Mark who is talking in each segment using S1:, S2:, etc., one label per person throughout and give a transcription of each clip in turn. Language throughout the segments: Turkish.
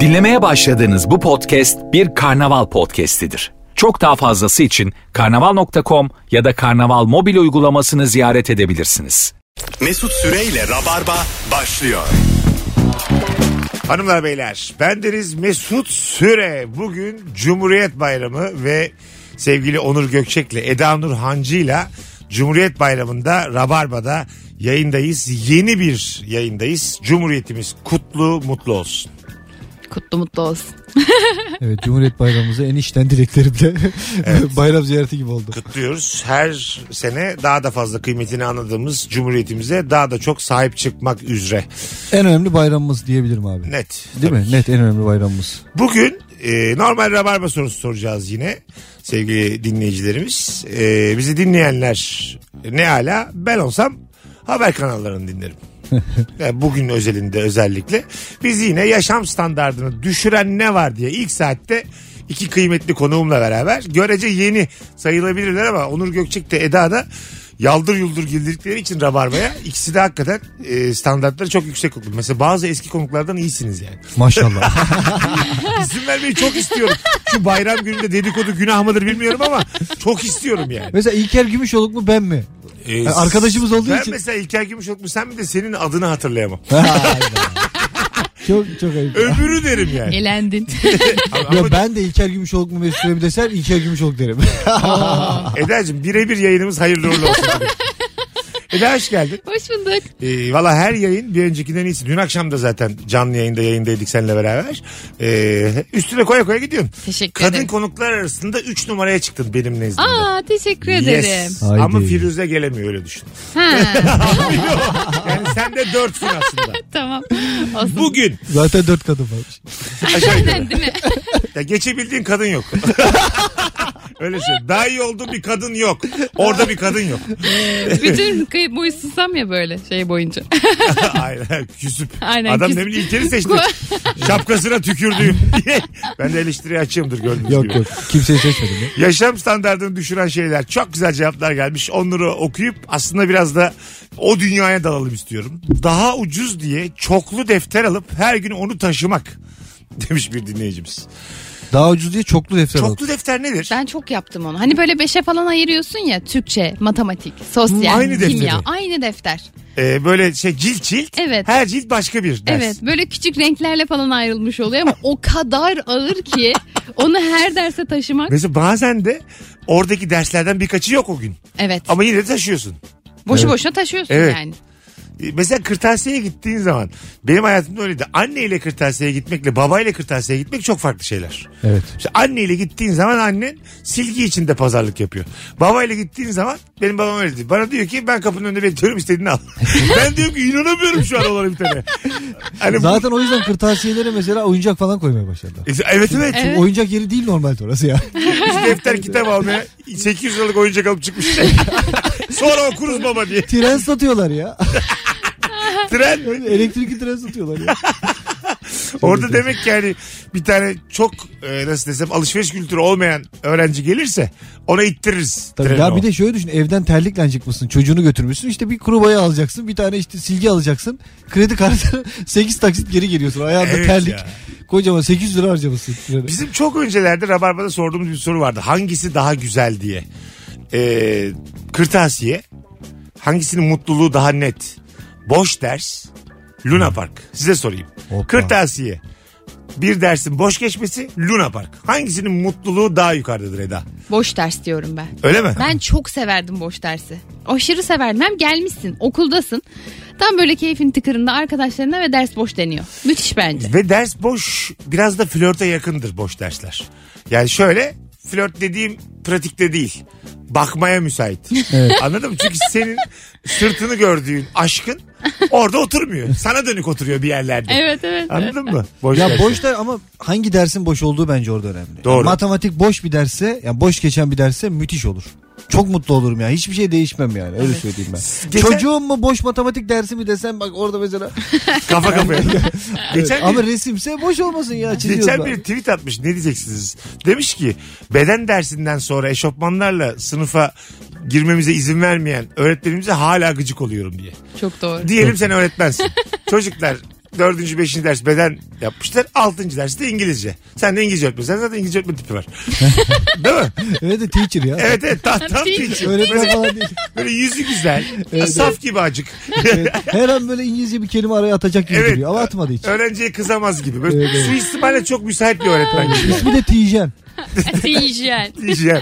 S1: Dinlemeye başladığınız bu podcast bir karnaval podcastidir. Çok daha fazlası için karnaval.com ya da karnaval mobil uygulamasını ziyaret edebilirsiniz.
S2: Mesut Süreyle Rabarba başlıyor.
S3: Hanımlar beyler bendeniz Mesut Süre. Bugün Cumhuriyet Bayramı ve sevgili Onur Gökçek'le Eda Nur Hancı'yla Cumhuriyet Bayramı'nda Rabarba'da yayındayız. Yeni bir yayındayız. Cumhuriyetimiz kutlu mutlu olsun.
S4: Kutlu mutlu olsun.
S5: Evet Cumhuriyet Bayramımızı en içten dileklerimle bayram ziyareti gibi oldu.
S3: Kutluyoruz. Her sene daha da fazla kıymetini anladığımız Cumhuriyetimize daha da çok sahip çıkmak üzere.
S5: En önemli bayramımız diyebilirim abi.
S3: Net.
S5: Değil mi? Net en önemli bayramımız.
S3: Bugün e, normal rabarba sorusu soracağız yine sevgili dinleyicilerimiz. E, bizi dinleyenler ne ala ben olsam haber kanallarını dinlerim. Yani bugün özelinde özellikle biz yine yaşam standartını düşüren ne var diye ilk saatte iki kıymetli konuğumla beraber görece yeni sayılabilirler ama Onur Gökçek de Eda da yaldır yuldur girdikleri için rabarbaya ikisi de hakikaten e, standartları çok yüksek koydu. Mesela bazı eski konuklardan iyisiniz yani.
S5: Maşallah.
S3: İsim vermeyi çok istiyorum. Şu bayram gününde dedikodu günah mıdır bilmiyorum ama çok istiyorum yani.
S5: Mesela İlker Gümüşoluk mu ben mi?
S3: Ee,
S5: E, arkadaşımız olduğu
S3: ben
S5: için.
S3: mesela İlker Gümüşoluk mu sen mi de senin adını hatırlayamam.
S5: Vay be. çok çok ayıp. ya.
S3: Öbürü derim yani.
S4: Elendin.
S3: Ama,
S5: Ya ben de İlker Gümüşoluk mu Mesut Bey mi desen İlker Gümüşoluk derim.
S3: Eda'cığım birebir yayınımız hayırlı uğurlu olsun. Eda hoş geldin.
S4: Hoş bulduk.
S3: Ee, Valla her yayın bir öncekinden iyisi. Dün akşam da zaten canlı yayında yayındaydık seninle beraber. Ee, üstüne koya koya gidiyorsun.
S4: Teşekkür
S3: Kadın
S4: ederim.
S3: konuklar arasında 3 numaraya çıktın benim nezdimde.
S4: Aa teşekkür ederim.
S3: Yes. Ama
S5: Haydi.
S3: Firuze gelemiyor öyle düşün.
S4: Ha,
S3: Yani sen de dörtsün aslında.
S4: tamam. Olsun.
S3: Bugün
S5: Zaten dört kadın varmış.
S3: aşağı yukarı.
S4: Değil mi?
S3: Ya geçebildiğin kadın yok. Öyle söyleyeyim. Daha iyi olduğun bir kadın yok. Orada bir kadın yok.
S4: Bütün kayıp boyu susam ya böyle şey boyunca.
S3: Aynen küsüp.
S4: Aynen,
S3: Adam
S4: küsüp.
S3: ne bileyim ilkeni seçti. Şapkasına tükürdüğüm. ben de eleştiri açığımdır gördüğünüz
S5: Yok
S3: gibi.
S5: yok. Kimseyi seçmedim. ya.
S3: Yaşam standartını düşüren şeyler. Çok güzel cevaplar gelmiş. Onları okuyup aslında biraz da o dünyaya dalalım istiyorum. Daha ucuz diye çoklu defter alıp her gün onu taşımak demiş bir dinleyicimiz.
S5: Daha ucuz diye çoklu defter aldım.
S3: Çoklu defter nedir?
S4: Ben çok yaptım onu. Hani böyle beşe falan ayırıyorsun ya Türkçe, matematik, sosyal,
S3: Aynı defteri.
S4: kimya. Aynı defter.
S3: Ee, böyle şey cilt cilt.
S4: Evet.
S3: Her cilt başka bir ders.
S4: Evet böyle küçük renklerle falan ayrılmış oluyor ama o kadar ağır ki onu her derse taşımak.
S3: Mesela bazen de oradaki derslerden birkaçı yok o gün.
S4: Evet.
S3: Ama yine de taşıyorsun.
S4: Boşu
S5: Evet.
S4: boşuna taşıyorsun
S3: Evet.
S4: yani.
S3: Ee, Mesela kırtasiyeye gittiğin zaman benim hayatımda öyleydi. Anneyle kırtasiyeye gitmekle babayla kırtasiyeye gitmek çok farklı şeyler.
S5: Evet.
S3: İşte anneyle gittiğin zaman annen silgi içinde pazarlık yapıyor. Babayla gittiğin zaman benim babam öyle diyor. Bana diyor ki ben kapının önünde bekliyorum istediğini al. ben diyorum ki inanamıyorum şu an olan bir tane. Hani bu- E,
S5: Zaten o yüzden kırtasiyelere mesela oyuncak falan koymaya başladı.
S3: Evet evet.
S4: Evet.
S5: Oyuncak yeri değil normalde orası ya.
S3: Biz defter kitap almaya 800 liralık oyuncak alıp çıkmış. Sonra okuruz baba diye.
S5: tren satıyorlar ya.
S3: Tren mi?
S5: Elektrikli tren satıyorlar ya.
S3: Orada demek ki yani bir tane çok e, nasıl desem alışveriş kültürü olmayan öğrenci gelirse ona ittiririz.
S5: Tabii
S3: treni
S5: ya
S3: o.
S5: bir de şöyle düşün evden terlikle çıkmışsın çocuğunu götürmüşsün işte bir kuru boya alacaksın bir tane işte silgi alacaksın kredi kartı 8 taksit geri geliyorsun ayağında
S3: Evet
S5: terlik
S3: ya.
S5: kocaman 800 lira harcamışsın. trene.
S3: Bizim çok öncelerde Rabarba'da sorduğumuz bir soru vardı. Hangisi daha güzel diye. Ee, kırtasiye. Hangisinin mutluluğu daha net? Boş ders. Luna Park. Size sorayım.
S5: Hoppa.
S3: Kırtasiye. Bir dersin boş geçmesi Luna Park. Hangisinin mutluluğu daha yukarıdadır Eda?
S4: Boş ders diyorum ben.
S3: Öyle mi?
S4: Ben çok severdim boş dersi. Aşırı severdim. Hem gelmişsin, okuldasın. Tam böyle keyfin tıkırında arkadaşlarına ve ders boş deniyor. Müthiş bence.
S3: Ve ders boş biraz da flörte yakındır boş dersler. Yani şöyle flört dediğim pratikte değil. Bakmaya müsait. Anladın mı? Çünkü senin sırtını gördüğün aşkın orada oturmuyor. Sana dönük oturuyor bir yerlerde.
S4: Evet evet.
S3: Anladın mı? Boş
S5: Ya
S3: ders.
S5: boş der ama hangi dersin boş olduğu bence orada önemli.
S3: Doğru.
S5: Matematik boş bir derse yani boş geçen bir derse müthiş olur. Çok mutlu olurum ya. Hiçbir şey değişmem yani. Öyle söyleyeyim ben.
S3: Geçen-
S5: Çocuğum mu boş matematik dersi mi desem bak orada mesela.
S3: Kafa kafaya. Geçen bir-
S5: Ama resimse boş olmasın ya. çiziyorum
S3: Geçen
S5: ben.
S3: bir tweet atmış ne diyeceksiniz? Demiş ki beden dersinden sonra eşofmanlarla sınıfa girmemize izin vermeyen öğretmenimize hala gıcık oluyorum diye.
S4: Çok doğru.
S3: Diyelim sen öğretmensin. Çocuklar Dördüncü, beşinci ders beden yapmışlar. Altıncı ders de İngilizce. Sen de İngilizce öğretmen. Sen zaten İngilizce öğretmen tipi var. Değil mi?
S5: Evet de teacher ya.
S3: Evet evet. Tam, tam
S4: Teacher.
S3: teacher.
S5: Öğretmen falan değil.
S3: Böyle yüzü güzel. saf gibi acık.
S5: Her an böyle İngilizce bir kelime araya atacak gibi
S3: Evet.
S5: duruyor. Ama atmadı hiç.
S3: Öğrenciye kızamaz gibi. Böyle suistimale çok müsait bir öğretmen gibi.
S5: İsmi de Tijen.
S4: Hijyen.
S3: Diyeceğim.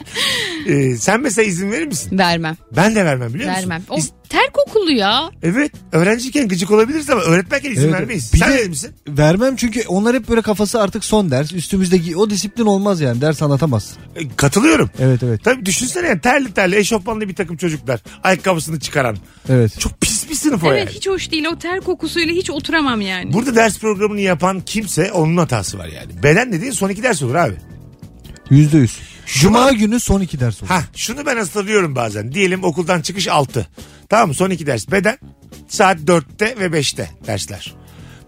S3: Ee, sen mesela izin verir misin?
S4: Vermem.
S3: Ben de vermem biliyor musun?
S4: Vermem. O
S3: İz-
S4: ter kokulu ya.
S3: evet öğrenciyken gıcık olabiliriz ama öğretmenken izin
S5: Evet.
S3: vermeyiz.
S5: Bir
S3: sen
S5: de-
S3: verir misin?
S5: Vermem çünkü onlar hep böyle kafası artık son ders. Üstümüzdeki o disiplin olmaz yani. Ders anlatamaz.
S3: E, katılıyorum.
S5: Evet evet.
S3: Tabii düşünsene yani terli terli eşofmanlı bir takım çocuklar. Ayakkabısını çıkaran.
S5: Evet.
S3: Çok pis bir sınıf o
S4: Evet
S3: yani.
S4: hiç hoş değil. O ter kokusuyla hiç oturamam yani.
S3: Burada ders programını yapan kimse onun hatası var yani. Beden dediğin son iki ders olur abi.
S5: Yüzde yüz. Cuma günü son iki ders olur.
S3: Ha şunu ben hatırlıyorum bazen. Diyelim okuldan çıkış 6. Tamam mı? Son iki ders beden. Saat 4'te ve 5'te dersler.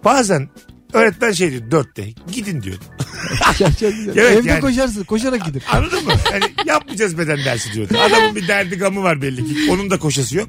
S3: Bazen öğretmen şey diyor 4'te gidin diyor. Evet,
S5: Evde
S3: yani.
S5: koşarsın. Koşarak gider.
S3: Anladın mı? Yani yapmayacağız beden dersi diyordu. Adamın bir derdi gamı var belli ki. Onun da koşası yok.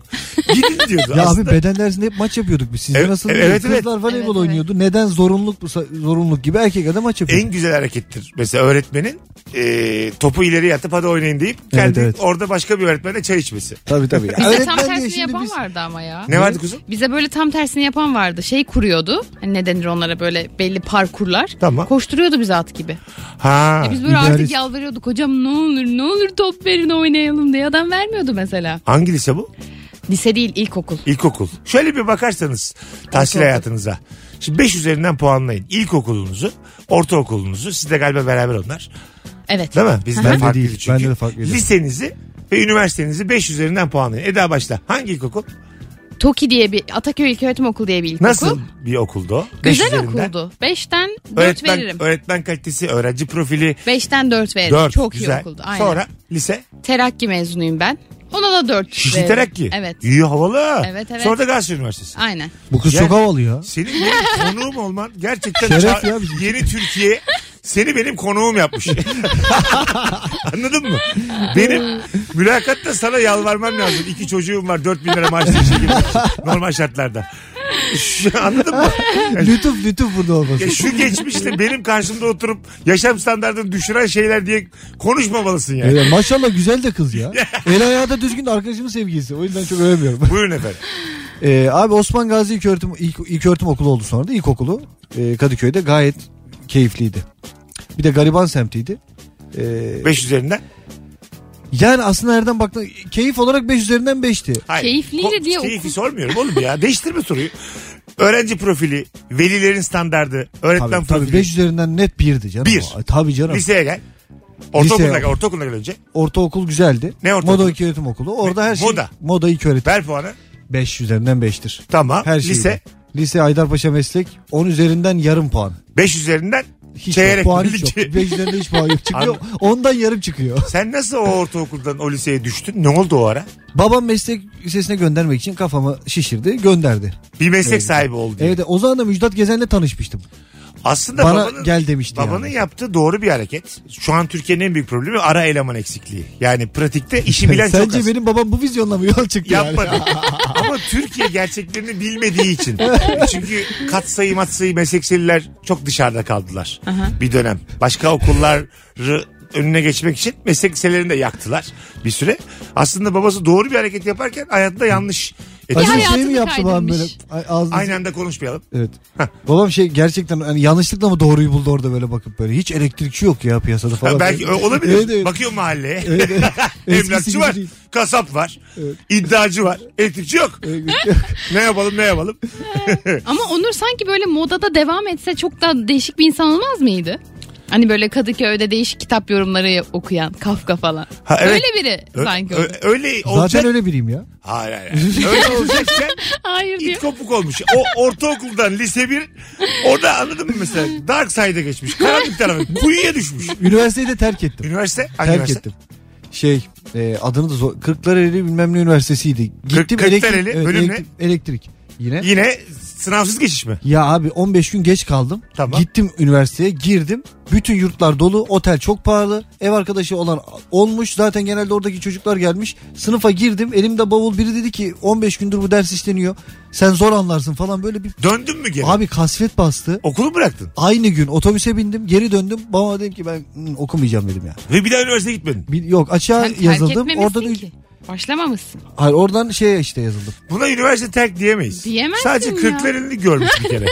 S3: Gidin diyordu.
S5: Ya
S3: Aslında-
S5: abi beden dersinde hep maç yapıyorduk biz. Sizde
S3: Evet,
S5: nasıl?
S3: evet, evet.
S5: Kızlar voleybol
S4: Evet, evet.
S5: oynuyordu. Neden zorunluluk bu zorunluluk gibi erkek adam maç yapıyordu.
S3: en güzel harekettir. Mesela öğretmenin e, topu ileri atıp hadi oynayın deyip kendi
S5: evet.
S3: orada başka bir öğretmenle çay içmesi.
S5: Tabii tabii.
S4: Bize
S5: Öğretmen
S4: tam
S5: diye
S4: tersini
S5: şimdi
S4: yapan
S5: biz-
S4: vardı ama ya.
S3: Ne vardı kuzum?
S4: Bize böyle tam tersini yapan vardı. Şey kuruyordu. Hani ne denir onlara böyle belli parkurlar.
S3: Tamam.
S4: Koşturuyordu bizi at gibi.
S3: Ha.
S4: E, Biz böyle artık
S5: idealist.
S4: yalvarıyorduk. Hocam ne olur ne olur top verin oynayalım diye. Adam vermiyordu mesela.
S3: Hangi lise bu?
S4: Lise değil ilkokul.
S3: İlkokul. Şöyle bir bakarsanız tahsil
S4: İlkokul.
S3: hayatınıza. Şimdi 5 üzerinden puanlayın. İlkokulunuzu, ortaokulunuzu. Siz de galiba beraber onlar.
S4: Evet.
S3: Değil mi? Bizden
S5: Ben de
S3: farklı
S5: değil,
S3: çünkü.
S5: ben de de farklıydı.
S3: Lisenizi ve üniversitenizi 5 üzerinden puanlayın. Eda başla. Hangi ilkokul?
S4: Toki diye bir Ataköy İlköğretim Okulu diye bir ilkokul.
S3: Nasıl bir okuldu o? Beş
S4: Güzel
S3: üzerinden.
S4: okuldu. Beşten dört
S3: Öğretmen,
S4: veririm.
S3: öğretmen kalitesi, öğrenci profili.
S4: Beşten dört veririm.
S3: 4.
S4: Çok
S3: Güzel.
S4: iyi okuldu. Aynen.
S3: Sonra lise.
S4: Terakki mezunuyum ben. Ona da dört
S3: Şişli
S4: veririm.
S3: Terakki.
S4: Evet.
S3: İyi havalı.
S4: Evet, evet.
S3: Sonra da Galatasaray Üniversitesi.
S4: Aynen.
S5: Bu kız
S3: Yani-
S5: çok havalı ya.
S3: Senin benim konuğum olman gerçekten
S5: Şeref
S3: ça-
S5: ya bizim.
S3: yeni Türkiye seni benim konuğum yapmış. Anladın mı? Benim mülakatta sana yalvarmam lazım. İki çocuğum var dört bin lira maaş taşıyor gibi. Normal şartlarda. Şu- Anladın mı?
S5: Lütuf lütuf burada olmasın.
S3: Ya şu geçmişte benim karşımda oturup yaşam standartını düşüren şeyler diye konuşmamalısın yani.
S5: Evet, maşallah güzel de kız ya. El ayağı da düzgün de arkadaşımın sevgilisi. O yüzden çok övmüyorum.
S3: Buyurun efendim.
S5: Ee, abi Osman Gazi İlköğretim ilk, İlköğretim Okulu oldu sonra da ilkokulu. Ee, Kadıköy'de gayet keyifliydi. Bir de gariban semtiydi. Ee,
S3: Beş üzerinden.
S5: yani aslında nereden baktın keyif olarak 5 üzerinden 5'ti.
S3: Hayır.
S4: Keyifliydi
S3: Ko-
S4: diye
S3: Keyfi
S4: okul-
S3: sormuyorum oğlum ya. Değiştirme soruyu. Öğrenci profili, velilerin standardı, öğretmen
S5: Tabii,
S3: profili.
S5: tabii 5 üzerinden net 1'di canım.
S3: Bir.
S5: Ay, Tabii canım.
S3: Liseye gel. Ortaokuluna
S5: Liseye.
S3: gel. Ortaokuluna gel önce.
S5: Ortaokul güzeldi.
S3: Ne ortaokulu?
S5: Moda İlköğretim Okulu. Orada her şey.
S3: Moda.
S5: Moda İlköğretim.
S3: Ver puanı.
S5: 5 üzerinden 5'tir.
S3: Tamam.
S5: Her şey.
S3: Lise
S5: Lise Aydarpaşa Meslek 10 üzerinden yarım puan.
S3: 5 üzerinden
S5: Hiç yok,
S3: çeyrek.
S5: puan
S3: bir
S5: hiç yok.
S3: iki.
S5: 5 üzerinden hiç puan yok. Çıkıyor. Ondan yarım çıkıyor.
S3: Sen nasıl o ortaokuldan o liseye düştün? Ne oldu o ara?
S5: Babam meslek lisesine göndermek için kafamı şişirdi gönderdi.
S3: Bir meslek sahibi oldu.
S5: Evet o zaman da Müjdat Gezen'le tanışmıştım.
S3: Aslında
S5: Bana
S3: babanın,
S5: gel demişti
S3: babanın
S5: yani.
S3: yaptığı doğru bir hareket. Şu an Türkiye'nin en büyük problemi ara eleman eksikliği. Yani pratikte işi bilen çok
S5: Sence
S3: az.
S5: benim babam bu vizyonla mı yola çıktı yani?
S3: Yapmadı. Ama Türkiye gerçeklerini bilmediği için. Çünkü katsayı matsayı meslekçiler çok dışarıda kaldılar. Bir dönem. Başka okulları önüne geçmek için meslek liselerini de yaktılar bir süre. Aslında babası doğru bir hareket yaparken hayatında yanlış. E,
S5: Acaba
S4: Ya
S5: şey mi
S4: hayatını
S5: yaptı babam böyle?
S4: kaydırmış.
S5: Ay- Ağzını...
S3: aynı anda konuşmayalım.
S5: Evet. babam şey gerçekten hani yanlışlıkla mı doğruyu buldu orada böyle bakıp böyle. Hiç elektrikçi yok ya piyasada
S3: Ha,
S5: falan.
S3: belki
S5: Böyle-
S3: olabilir.
S5: Evet, evet.
S3: Bakıyor mahalleye.
S5: Evet, evet. Eskisi
S3: Emlakçı
S5: gibi
S3: var,
S5: değil.
S3: kasap var, iddiacı var, elektrikçi yok. ne yapalım ne yapalım.
S4: Ama Onur sanki böyle modada devam etse çok daha değişik bir insan olmaz mıydı? Hani böyle Kadıköy'de değişik kitap yorumları okuyan Kafka falan.
S3: Ha, evet.
S4: Öyle biri
S3: Ö-
S4: sanki.
S3: ö- öyle olacak.
S5: Zaten öyle biriyim ya.
S3: Hayır hayır. Öyle olacakken
S4: Hayır diyor.
S3: it kopuk olmuş. O ortaokuldan lise bir orada anladın mı mesela dark side'a geçmiş. Karanlık tarafa kuyuya düşmüş.
S5: Üniversiteyi de terk ettim.
S3: Üniversite? Hangi
S5: terk
S3: üniversite?
S5: ettim. Şey e, adını da zor. Kırklareli bilmem ne üniversitesiydi. Gittim
S3: Kırklareli,
S5: elektrik, evet,
S3: bölüm ne?
S5: elektrik, elektrik. Yine.
S3: Yine Sınavsız geçiş mi?
S5: Ya abi 15 gün geç kaldım.
S3: Tamam.
S5: Gittim üniversiteye girdim. Bütün yurtlar dolu. Otel çok pahalı. Ev arkadaşı olan olmuş. Zaten genelde oradaki çocuklar gelmiş. Sınıfa girdim. Elimde bavul biri dedi ki 15 gündür bu ders işleniyor. Sen zor anlarsın falan böyle bir...
S3: Döndün mü geri?
S5: Abi kasvet bastı.
S3: Okulu mu bıraktın?
S5: Aynı gün otobüse bindim. Geri döndüm. Babama dedim ki ben hmm, okumayacağım dedim ya.
S3: Ve bir daha üniversiteye gitmedin.
S5: Bir, yok açığa
S4: Sen terk
S5: yazıldım.
S4: etmemişsin
S5: Oradan
S4: ki. Başlamamışsın.
S5: hayır oradan şeye işte yazıldım.
S3: Buna üniversite terk diyemeyiz.
S4: Diyemezsin
S3: Sadece
S4: ya.
S3: kırklarını görmüş bir kere.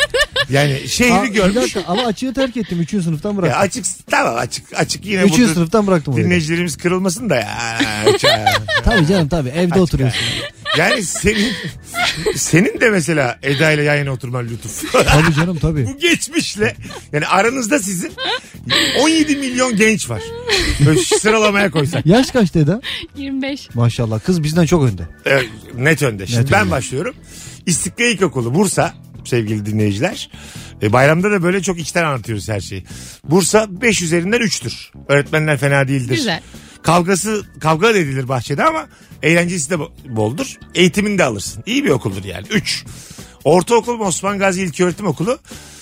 S3: Yani
S5: Aa,
S3: şehri
S5: bir
S3: görmüş.
S5: dakika, ama açığı terk ettim 3. sınıftan
S3: Ya
S5: bıraktım.
S3: açık tamam açık açık yine
S5: 3.
S3: budur.
S5: sınıftan bıraktım orayı.
S3: Dinleyicilerimiz kırılmasın da ya. Ça-
S5: Tabii canım tabii evde oturuyorsun.
S3: yani senin senin de mesela Eda ile yan yana oturman lütuf.
S5: Tabii canım tabii.
S3: Bu geçmişle yani aranızda sizin 17 milyon genç var. Böyle sıralamaya koysak.
S5: Yaş kaç dede?
S4: 25.
S5: Maşallah kız bizden çok önde.
S3: Evet, Ee, net önde. Şimdi
S5: Net
S3: ben
S5: önde.
S3: başlıyorum. İstiklal İlkokulu Bursa sevgili dinleyiciler. E, bayramda da böyle çok içten anlatıyoruz her şeyi. Bursa 5 üzerinden 3'tür. Öğretmenler fena değildir.
S4: Güzel.
S3: Kavgası kavga da edilir bahçede ama eğlencesi de bo- boldur. Eğitimini de alırsın. İyi bir okuldur yani. 3. Ortaokul Osman Gazi İlköğretim Okulu.